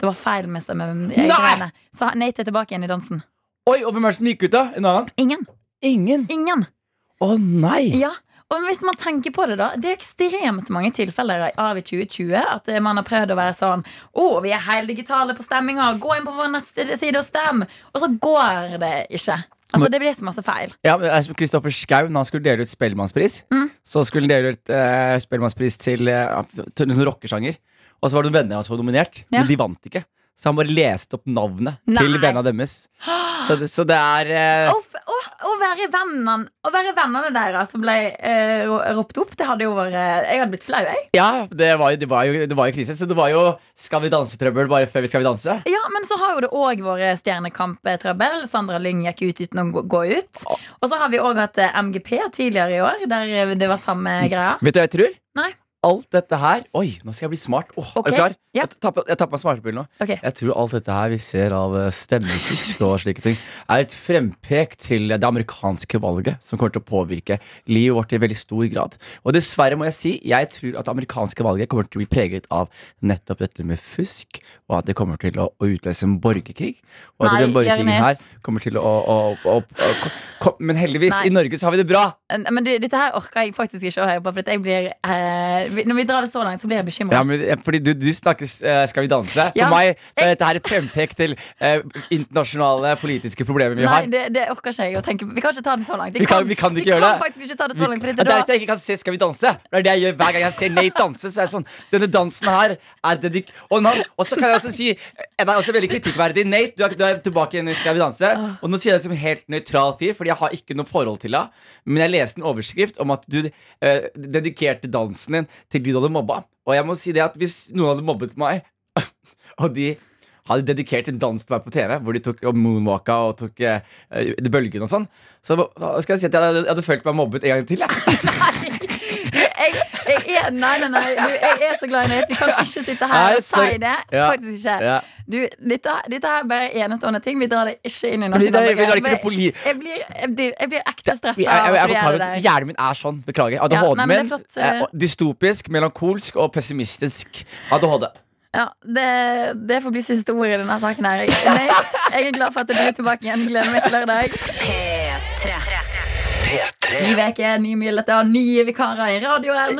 Speaker 2: Det var feil med stemmegreiene. Så Nate er tilbake igjen i dansen.
Speaker 3: Oi, og hvem er det som gikk ut, da? En annen?
Speaker 2: Ingen.
Speaker 3: Ingen.
Speaker 2: Ingen.
Speaker 3: Å nei.
Speaker 2: Ja, og hvis man tenker på det da Det er ekstremt mange tilfeller av i 2020 At eh, man har prøvd å være sånn Å, vi er helt digitale på stemminger Gå inn på vår nettside og stem Og så går det ikke Altså, det blir så masse feil
Speaker 3: Ja, men jeg- Kristoffer Schau, når han skulle dele ut Spellemannspris,
Speaker 2: Mm.
Speaker 3: så skulle han dele ut eh, Spellemannspris til, eh, til en sånn rockesjanger. Og så var det noen venner hans som var nominert,
Speaker 2: Ja.
Speaker 3: men de vant ikke. Så han bare leste opp navnet til
Speaker 2: Nei.
Speaker 3: vennene deres. Så det, så det er eh,
Speaker 2: Å, f- å, å være vennene Å være vennene deres som ble eh, ro- ropt opp Det hadde jo vært Jeg hadde blitt flau, jeg
Speaker 3: Ja, det var, jo, det, var jo, det var jo krise. Så det var jo Skal vi danse-trøbbel bare før vi skal vi danse.
Speaker 2: Ja, men så har jo det også vært stjernekamp-trøbbel Sandra Lyng gikk ut uten å gå- gå ut Og så har vi også hatt eh, MGP tidligere i år Der eh, det var samme greia
Speaker 3: Vet du hva jeg tror?
Speaker 2: Nei.
Speaker 3: Alt dette her Oi, nå skal jeg bli smart. Åh,
Speaker 2: Ok,
Speaker 3: Er du klar?
Speaker 2: ja.
Speaker 3: Jeg tapper jeg tapper meg smartmobilen nå.
Speaker 2: Ok.
Speaker 3: Jeg tror alt dette her vi ser av eh, stemmefusk og slike ting, er et frempek til det amerikanske valget som kommer til å påvirke livet vårt i veldig stor grad. Og dessverre må jeg si, jeg tror at det amerikanske valget kommer til å bli preget av nettopp dette med fusk, og at det kommer til å, å utløse en borgerkrig. Og at
Speaker 2: Nei,
Speaker 3: den borgerkrigen
Speaker 2: Jørnes.
Speaker 3: her kommer til å, å, å, å, å ko, ko, Men heldigvis,
Speaker 2: Nei.
Speaker 3: i Norge så har vi det bra!
Speaker 2: Men du, dette her orker jeg faktisk ikke å høre på. For at jeg blir, eh, vi- når vi drar det så langt, så blir jeg bekymra.
Speaker 3: Ja, men, eh, fordi du, du snakker eh, Skal vi danse? For
Speaker 2: Ja.
Speaker 3: meg så er dette her et frempek til eh, internasjonale politiske problemer vi
Speaker 2: Nei,
Speaker 3: har.
Speaker 2: det, det orker ikke jeg å tenke på. Vi kan ikke ta det så langt.
Speaker 3: Vi kan- vi kan ikke gjøre det.
Speaker 2: faktisk ikke ta det så langt. For
Speaker 3: Ja,
Speaker 2: dette,
Speaker 3: det er
Speaker 2: da,
Speaker 3: at jeg ikke kan se Skal vi danse. Det er det jeg gjør hver gang jeg ser Nate danse. Så er jeg sånn, denne dansen her er dedik Og nå- og så kan jeg også si eh, Det er også veldig kritikkverdig. Nate, du er, du er tilbake igjen i Skal vi danse. Og nå sier jeg det som en helt nøytral fyr, Fordi jeg har ikke noe forhold til henne. Men jeg leste en overskrift om at du eh, dedikerte dansen din til de du hadde mobba. Og jeg må si det at hvis noen hadde mobbet meg, og de hadde dedikert en dans til meg på TV, hvor de tok og moonwalka og tok eh, eh, bølgen og sånn. Så skal jeg si at jeg hadde, jeg hadde følt meg mobbet en gang til. Jeg.
Speaker 2: jeg, jeg er, nei, nei, nei. Du, jeg er så glad i Nate. Vi kan ikke sitte her
Speaker 3: Nei,
Speaker 2: og si
Speaker 3: sorry.
Speaker 2: det.
Speaker 3: Ja.
Speaker 2: Faktisk ikke.
Speaker 3: Ja.
Speaker 2: Du, dette, dette her er bare enestående ting. Vi drar det ikke inn i noen
Speaker 3: Vi drar-
Speaker 2: andre
Speaker 3: vi drar ikke
Speaker 2: greier.
Speaker 3: til poli-
Speaker 2: Jeg blir, jeg blir, jeg blir ekte stressa.
Speaker 3: Jeg, jeg, jeg, beklager, altså, hjernen min er sånn. Beklager. ADHD-en
Speaker 2: nei, men det er
Speaker 3: min.
Speaker 2: flott,
Speaker 3: eh,
Speaker 2: eh.
Speaker 3: og dystopisk, melankolsk og pessimistisk ADHD.
Speaker 2: Ja, det, det får bli siste ord i denne saken her. Nate, jeg er glad for at du er tilbake igjen. Gleder meg til lørdag. Ny veke, nye muligheter, nye vikarer i radioen.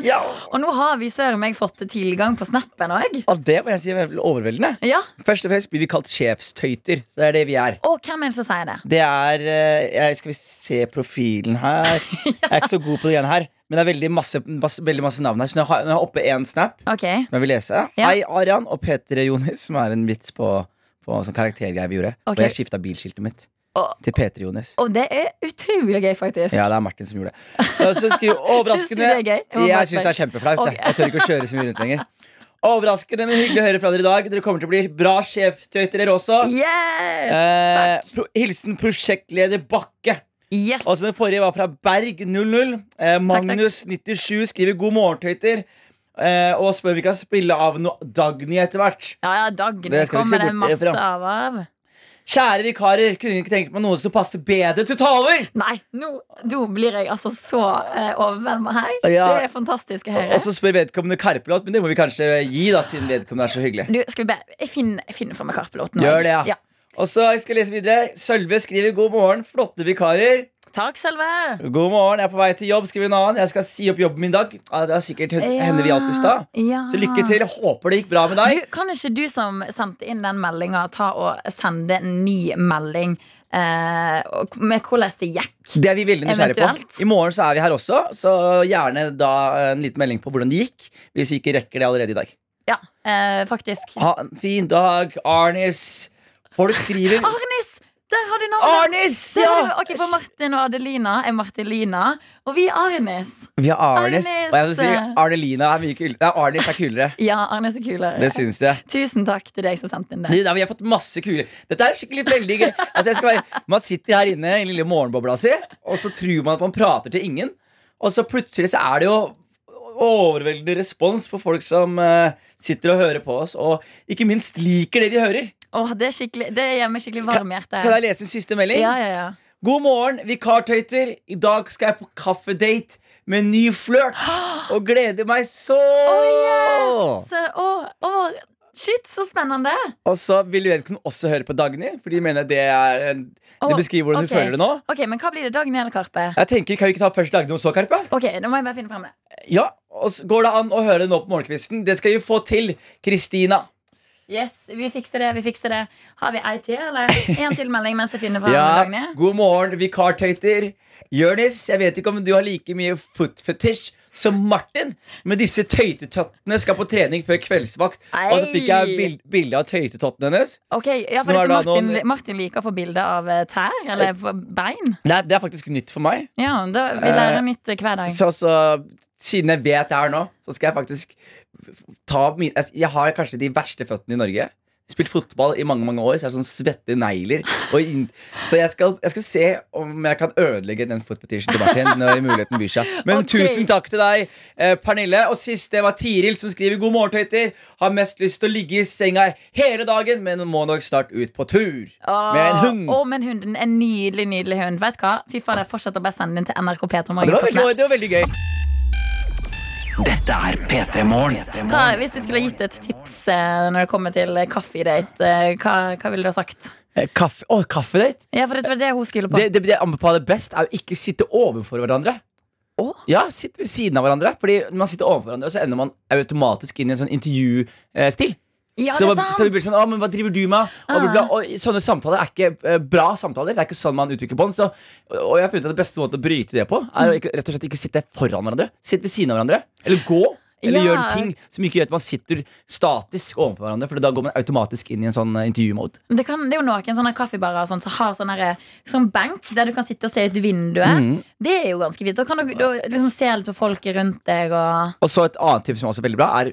Speaker 2: Og nå har vi søren meg fått tilgang på snappen òg.
Speaker 3: Og det må jeg si er overveldende.
Speaker 2: Ja.
Speaker 3: Først og fremst blir vi kalt sjefstøyter. Det er det vi er.
Speaker 2: Og hvem er det som sier det?
Speaker 3: Det er eh, jeg, Skal vi se profilen her? Jeg er ikke så god på det greiene her. Men det er veldig masse, masse, veldig masse navn her. Så når jeg har- når jeg har oppe én snap
Speaker 2: Ok,
Speaker 3: som jeg vil lese
Speaker 2: Ja.
Speaker 3: Hei, Arian og Peter Jonis, som er en vits på, på sånn karaktergreier vi gjorde.
Speaker 2: Ok.
Speaker 3: Og jeg skifta bilskiltet mitt
Speaker 2: Og-
Speaker 3: til Peter Jonis.
Speaker 2: Og det er utrolig gøy, faktisk.
Speaker 3: Ja, det er Martin som gjorde det. Og så skriver overraskende
Speaker 2: Synes du det er gøy? Jeg må bare
Speaker 3: Jeg syns det er
Speaker 2: spørre.
Speaker 3: kjempeflaut.
Speaker 2: Ok.
Speaker 3: Jeg. jeg tør ikke å kjøre så mye rundt lenger. Overraskende, men hyggelig å høre fra dere i dag. Dere kommer til å bli bra sjefstøyter, dere også.
Speaker 2: Yes!
Speaker 3: Eh, pro hilsen prosjektleder Bakke.
Speaker 2: yes.
Speaker 3: Og så Altså, Den forrige var fra Berg00. Eh, Magnus97 skriver 'God morgen, tøyter'. Eh, og spør om vi kan spille av noe Dagny etter hvert.
Speaker 2: Ja, ja, Dagny
Speaker 3: Det skal vi ikke se
Speaker 2: kommer det
Speaker 3: bort
Speaker 2: masse
Speaker 3: ifra.
Speaker 2: av. av.
Speaker 3: Kjære vikarer, kunne ikke tenke meg noe som passer bedre til å ta over.
Speaker 2: Nei, nå, nå blir jeg altså så uh, overvelda her.
Speaker 3: Ja.
Speaker 2: Det er fantastisk å høre.
Speaker 3: Og så spør vedkommende Karpe-låt, men det må vi kanskje gi, da siden vedkommende er så hyggelig.
Speaker 2: Du, skal vi be Jeg finner, jeg finner frem Karpe-låten nå.
Speaker 3: Gjør det, ja. Og så skal jeg lese videre. Sølve skriver 'God morgen, flotte vikarer'.
Speaker 2: Takk, Selve
Speaker 3: God morgen, jeg er på vei til jobb, skriver en annen. Jeg skal si opp jobben min i dag. Ja, det er sikkert hen- henne vi hjalp i stad.
Speaker 2: Ja.
Speaker 3: Så lykke til. Håper det gikk bra med
Speaker 2: Du,
Speaker 3: deg.
Speaker 2: kan ikke du som sendte inn den meldinga, ta og sende en ny melding eh, og- med hvordan det gikk?
Speaker 3: Det er vi veldig nysgjerrige på.
Speaker 2: Eventuelt.
Speaker 3: I morgen så er vi her også, så gjerne da en liten melding på hvordan det gikk. Hvis vi ikke rekker det allerede i dag.
Speaker 2: Ja, eh, faktisk. Ah,
Speaker 3: Ha en fin dag, Arnis. Folk skriver
Speaker 2: Arnis! Der har du navnet!
Speaker 3: Arnis!
Speaker 2: Der har
Speaker 3: Ja!
Speaker 2: du- Ok, for Martin og Adelina er Martelina, og vi er Arnis.
Speaker 3: Vi har Arnis.
Speaker 2: Arnis.
Speaker 3: Og jeg vil si Arnelina er mye kulere. Nei, Arnis er kulere.
Speaker 2: Ja, Arnis er kulere.
Speaker 3: Det syns jeg.
Speaker 2: Tusen takk til deg som sendte inn det.
Speaker 3: Du, da, vi har fått masse kule Dette er skikkelig veldig gøy. Altså, jeg skal være, man sitter her inne i den lille morgenbobla si, og så tror man at man prater til ingen. Og så plutselig så er det jo overveldende respons på folk som eh, sitter og hører på oss, og ikke minst liker det de hører.
Speaker 2: Åh, det, er skikkelig- det gjør meg skikkelig varm i hjertet.
Speaker 3: Kan jeg lese en siste melding?
Speaker 2: Ja, ja, ja.
Speaker 3: God morgen, vikartøyter. I dag skal jeg på kaffedate med en ny flørt. Og gleder meg så!
Speaker 2: Så, åh, åh, shit, så spennende!
Speaker 3: Og så vil vedkommende også høre på Dagny, for de mener det er en, Det
Speaker 2: Åh,
Speaker 3: beskriver hvordan
Speaker 2: ok.
Speaker 3: hun føler det nå.
Speaker 2: Ok, Men hva blir det, Dagny eller Karpe?
Speaker 3: Jeg tenker, Kan vi ikke ta først Dagny og så Karpe?
Speaker 2: Ok, nå må jeg bare finne frem det.
Speaker 3: Ja, og så Går det an å høre det nå på morgenkvisten? Det skal vi få til. Kristina.
Speaker 2: Yes, vi fikser det, vi fikser det. Har vi ei til, eller? En til melding mens jeg finner fram Dagny?
Speaker 3: God morgen, vikartøyter. Jørnis, jeg vet ikke om du har like mye foot fetish som Martin, men disse tøytetottene skal på trening før kveldsvakt. Og så fikk jeg
Speaker 2: Ei.
Speaker 3: bild, bilde av tøytetottene hennes.
Speaker 2: Ok, ja,
Speaker 3: Så
Speaker 2: for
Speaker 3: er
Speaker 2: dette
Speaker 3: det
Speaker 2: Martin,
Speaker 3: noen-
Speaker 2: Martin liker å få bilde av eh, tær, eller f- bein.
Speaker 3: Nei, det er faktisk nytt for meg.
Speaker 2: Ja, da, Vi lærer nytt eh, hver dag.
Speaker 3: Så, så siden jeg vet det her nå, så skal jeg faktisk ta min altså, Jeg har kanskje de verste føttene i Norge. Spilt fotball i mange mange år, så jeg har sånn svette negler. Og inn- så jeg skal, jeg skal se om jeg kan ødelegge den footpetishen til Martin. Når muligheten byr seg Men
Speaker 2: Ok.
Speaker 3: tusen takk til deg, eh, Pernille. Og sist, det var Tiril som skriver 'God morgen, tøyter'. Har mest lyst til å ligge i senga hele dagen, men må nok snart ut på tur.
Speaker 2: Åh,
Speaker 3: Med en hund.
Speaker 2: Å, men hunden. En nydelig, nydelig hund. Vet du hva? Fy faen, jeg fortsetter bare å sende den til NRK Peter
Speaker 3: Det
Speaker 2: Morgen.
Speaker 3: var
Speaker 2: på
Speaker 3: veldig,
Speaker 2: Snaps.
Speaker 3: det var veldig gøy.
Speaker 6: Dette er P3 Morgen.
Speaker 2: Hva, hvis du skulle gitt et tips eh, når det kommer til eh, kaffedate, eh, hva, hva ville du ha sagt?
Speaker 3: Eh, Kaffe, å, kaffedate.
Speaker 2: Ja, for det var det hun skulle på.
Speaker 3: Det, det, det jeg anbefaler best, er å ikke sitte overfor hverandre. Ja, sitt ved siden av hverandre. Fordi når man sitter overfor hverandre, så ender man automatisk inn i en sånn intervjustil.
Speaker 2: ja,
Speaker 3: så,
Speaker 2: det er
Speaker 3: man- så vi
Speaker 2: sant! Ah.
Speaker 3: blir sånn, «Å, men hva driver du med? Og, bla, bla, bla. og Sånne samtaler er ikke eh, bra samtaler. Det er ikke sånn man utvikler bånd. Så, og jeg har funnet at det beste måten å bryte det på, er å ikke, rett og slett ikke sitte foran hverandre. Sitt ved siden av hverandre. Eller gå. Eller
Speaker 2: Ja.
Speaker 3: gjør ting som ikke gjør at man sitter statisk overfor hverandre. For da går man automatisk inn i en sånn eh, intervjumode.
Speaker 2: Det, kan, det er jo noen sånne kaffebarer og sånn, som har sånn herre- sånn benk der du kan sitte og se ut vinduet.
Speaker 3: Mm.
Speaker 2: Det er jo ganske fint. Da kan du, da liksom se litt på folket rundt deg og
Speaker 3: Og så et annet tips som også er veldig bra, er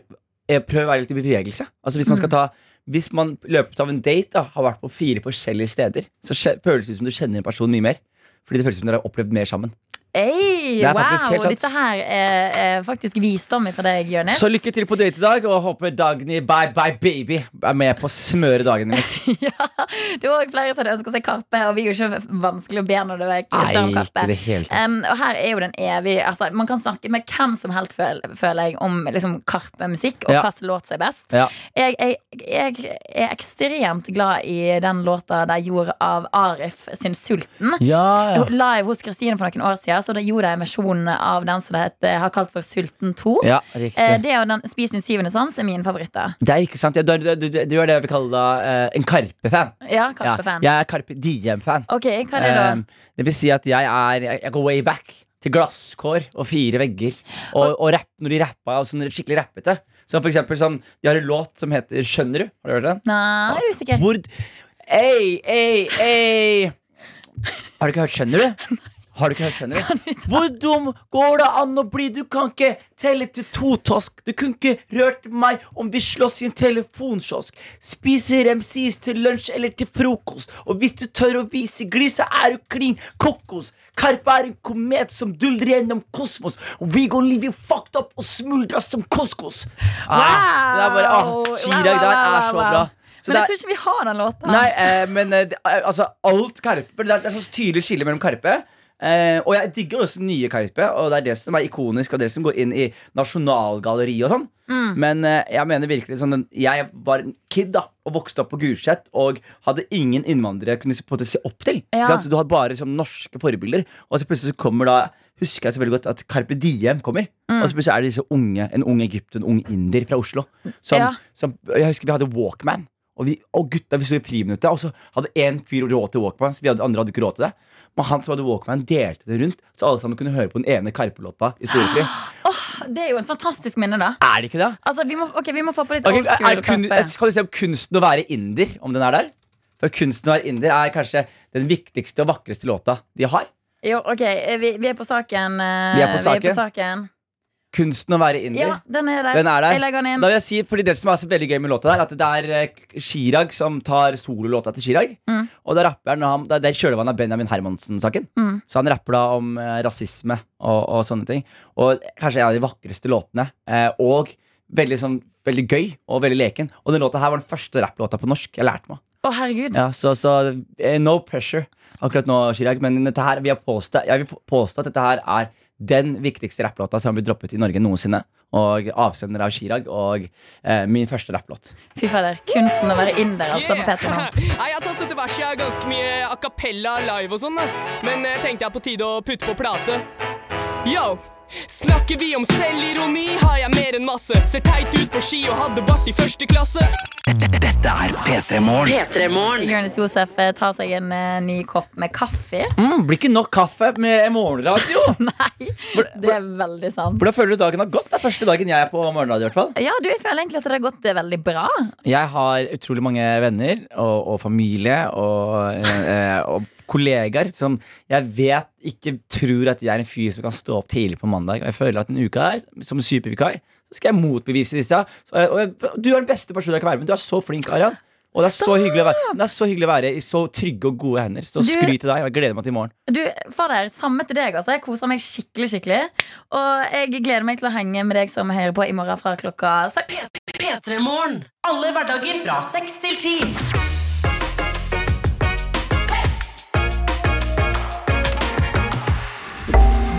Speaker 3: eh, prøv å være litt i bevegelse. Altså Hvis man
Speaker 2: Mm.
Speaker 3: skal ta Hvis man i løpet av en date da har vært på fire forskjellige steder, så skje- føles det ut som du kjenner en person mye mer. Fordi det føles som dere har opplevd mer sammen.
Speaker 2: Ei,
Speaker 3: Det er faktisk helt
Speaker 2: wow!
Speaker 3: sant.
Speaker 2: Dette her er, er faktisk visdom fra deg, Jonis.
Speaker 3: Så lykke til på date i dag, og håper Dagny Bye Bye Baby er med på å smøre dagen din.
Speaker 2: Ja, det var også flere som hadde ønsket seg Karpe, og vi er jo ikke vanskelig å be når du er
Speaker 3: Nei,
Speaker 2: Kristian
Speaker 3: ikke
Speaker 2: Karpe.
Speaker 3: i det hele tatt.
Speaker 2: Um, og her er jo den evige altså, Man kan snakke med hvem som helst, føl, føler jeg, om liksom, Karpe-musikk og
Speaker 3: Ja.
Speaker 2: hva som låter seg best.
Speaker 3: Ja.
Speaker 2: Jeg, jeg, jeg er ekstremt glad i den låta de gjorde av Arif sin 'Sulten'.
Speaker 3: Ja, ja.
Speaker 2: Live hos Kristine for noen år siden Så da gjorde jeg en versjon av den som det heter, har kalt for 'Sulten 2'.
Speaker 3: ja,
Speaker 2: Eh,
Speaker 3: riktig.
Speaker 2: Det og den 'Spis din syvende sans' er mine favoritter.
Speaker 3: Det er ikke sant. Ja, Du, er- du, du, du er det jeg vil kalle da, eh, en Karpe-fan.
Speaker 2: Ja,
Speaker 3: Ja,
Speaker 2: Karpe-fan.
Speaker 3: jeg er Karpe Diem-fan.
Speaker 2: Ok, hva er det da?
Speaker 3: Um, det vil si at jeg, er, jeg, jeg går way back til glasskår og fire vegger. Og, og rapp, når de rappa og sånn skikkelig rappete. Som for eksempel sånn De har en låt som heter Skjønner du? Har du hørt den?
Speaker 2: Nei, jeg er usikker.
Speaker 3: Hvor Ei, ei, ei. Har du ikke hørt Skjønner du? Har du ikke hørt Skjønner du? Hvor dum går det an å bli? Du kan ikke telle til to tosk. Du kunne ikke rørt meg om vi slåss i en telefonkiosk. Spiser MCs til lunsj eller til frokost. Og hvis du tør å vise glis, så er du klin kokos. Karpe er en komet som duldrer gjennom kosmos. We gon' leave you fucked up og smuldra som koskos. Ah, det er bare,
Speaker 2: Wow! Wow,
Speaker 3: ah, Chirag
Speaker 2: wow,
Speaker 3: der er
Speaker 2: wow,
Speaker 3: så
Speaker 2: wow.
Speaker 3: bra. Så
Speaker 2: Men
Speaker 3: det
Speaker 2: jeg
Speaker 3: er-
Speaker 2: tror ikke vi har den låta.
Speaker 3: Nei, eh, men eh, det, er- altså, alt Karpe for Det er, det er så tydelig skille mellom Karpe. Eh, og jeg digger også nye Karpe, og det er det som er ikonisk, og det som går inn i nasjonalgalleriet og sånn. Men eh, jeg mener virkelig sånn den- Jeg var en kid da og vokste opp på Gulset og hadde ingen innvandrere jeg kunne se- på en måte se opp til.
Speaker 2: Ja.
Speaker 3: Ikke sant? Så du hadde bare sånn, norske forbilder, og så plutselig så kommer da Husker jeg så veldig godt at Carpe Diem kommer.
Speaker 2: Mm.
Speaker 3: Og så plutselig er det disse unge, en ung egypter, en ung indier fra Oslo. Som,
Speaker 2: Ja.
Speaker 3: som, jeg husker vi hadde Walkman. Og, vi, og gutta vi sto i friminuttet, og så hadde én fyr råd til Walkman. Så vi hadde, andre hadde ikke råd til det. Men han som hadde Walkman, delte det rundt, så alle sammen kunne høre på den ene Karpe-låta i storefri.
Speaker 2: Det er jo en fantastisk minne, da.
Speaker 3: Er det ikke det?
Speaker 2: Altså, vi må, ok, vi må få på litt
Speaker 3: Ok,
Speaker 2: old
Speaker 3: er,
Speaker 2: school
Speaker 3: er kun,
Speaker 2: Karpe.
Speaker 3: kan du se om kunsten å være inder, om den er der? For kunsten å være inder er kanskje den viktigste og vakreste låta de har.
Speaker 2: Jo, ok, eh, vi, vi er på saken. eh,
Speaker 3: Vi er på
Speaker 2: Vi
Speaker 3: saken.
Speaker 2: er på saken.
Speaker 3: Kunsten å være inder.
Speaker 2: Ja, den er der.
Speaker 3: Den er der.
Speaker 2: Jeg legger den inn.
Speaker 3: Da vil jeg si, fordi Det som er så veldig gøy med låta, der at det er eh, Chirag som tar sololåta til Chirag.
Speaker 2: Mm.
Speaker 3: Og da rapper han, og han- der- der kjøler man av Benjamin Hermansen-saken.
Speaker 2: Mm.
Speaker 3: Så han rapper da om eh, rasisme og, og sånne ting. Og kanskje en av de vakreste låtene. Eh, og veldig, sånn, veldig gøy og veldig leken. Og den låta her var den første rapplåta på norsk jeg lærte meg.
Speaker 2: Å, herregud.
Speaker 3: Ja, så, så eh, no pressure akkurat nå, Chirag. Men dette her, vi har påstå, jeg vil påstå at dette her er den viktigste rapplåta som har blitt droppet i Norge noensinne. Og avsender av Chirag og eh, min første rapplåt.
Speaker 2: Fy fader. Kunsten å være inder, altså. På Peter nå.
Speaker 10: Nei, jeg har tatt dette verset. Jeg har ganske mye a cappella live og sånn, da. Men eh, tenkte jeg er på tide å putte på plate. Yo! Snakker vi om selvironi, har jeg mer enn masse. Ser teit ut på ski og hadde bart i første klasse.
Speaker 6: Dette er P3 Morgen.
Speaker 7: P3morgen.
Speaker 2: Jonis Josef eh, tar seg en eh, ny kopp med kaffe.
Speaker 3: Mm, blir ikke nok kaffe med morgenradio!
Speaker 2: Nei, det er veldig sant.
Speaker 3: Hvordan føler du dagen har gått? Det er første dagen jeg er på morgenradio. i hvert fall
Speaker 2: Ja, du, jeg føler egentlig at det har gått eh, veldig bra.
Speaker 3: Jeg har utrolig mange venner og, og familie og, eh, eh, og kollegaer som jeg vet ikke tror at jeg er en fyr som kan stå opp tidlig på mandag. Og jeg føler at en uke her, som supervikar, så skal jeg motbevise disse. Så, eh, og jeg, du er den beste personen jeg kan være med. Du er så flink, Arian. Og det er, så hyggelig å være, det er så hyggelig å være i så trygge og gode hender. Så
Speaker 2: Du-
Speaker 3: skryt til deg, og jeg gleder meg til i morgen.
Speaker 2: Du, fader, Samme til deg. altså Jeg koser meg skikkelig. skikkelig Og jeg gleder meg til å henge med deg som hører på i morgen fra klokka seks.
Speaker 7: P3morgen. Alle hverdager fra seks til ti.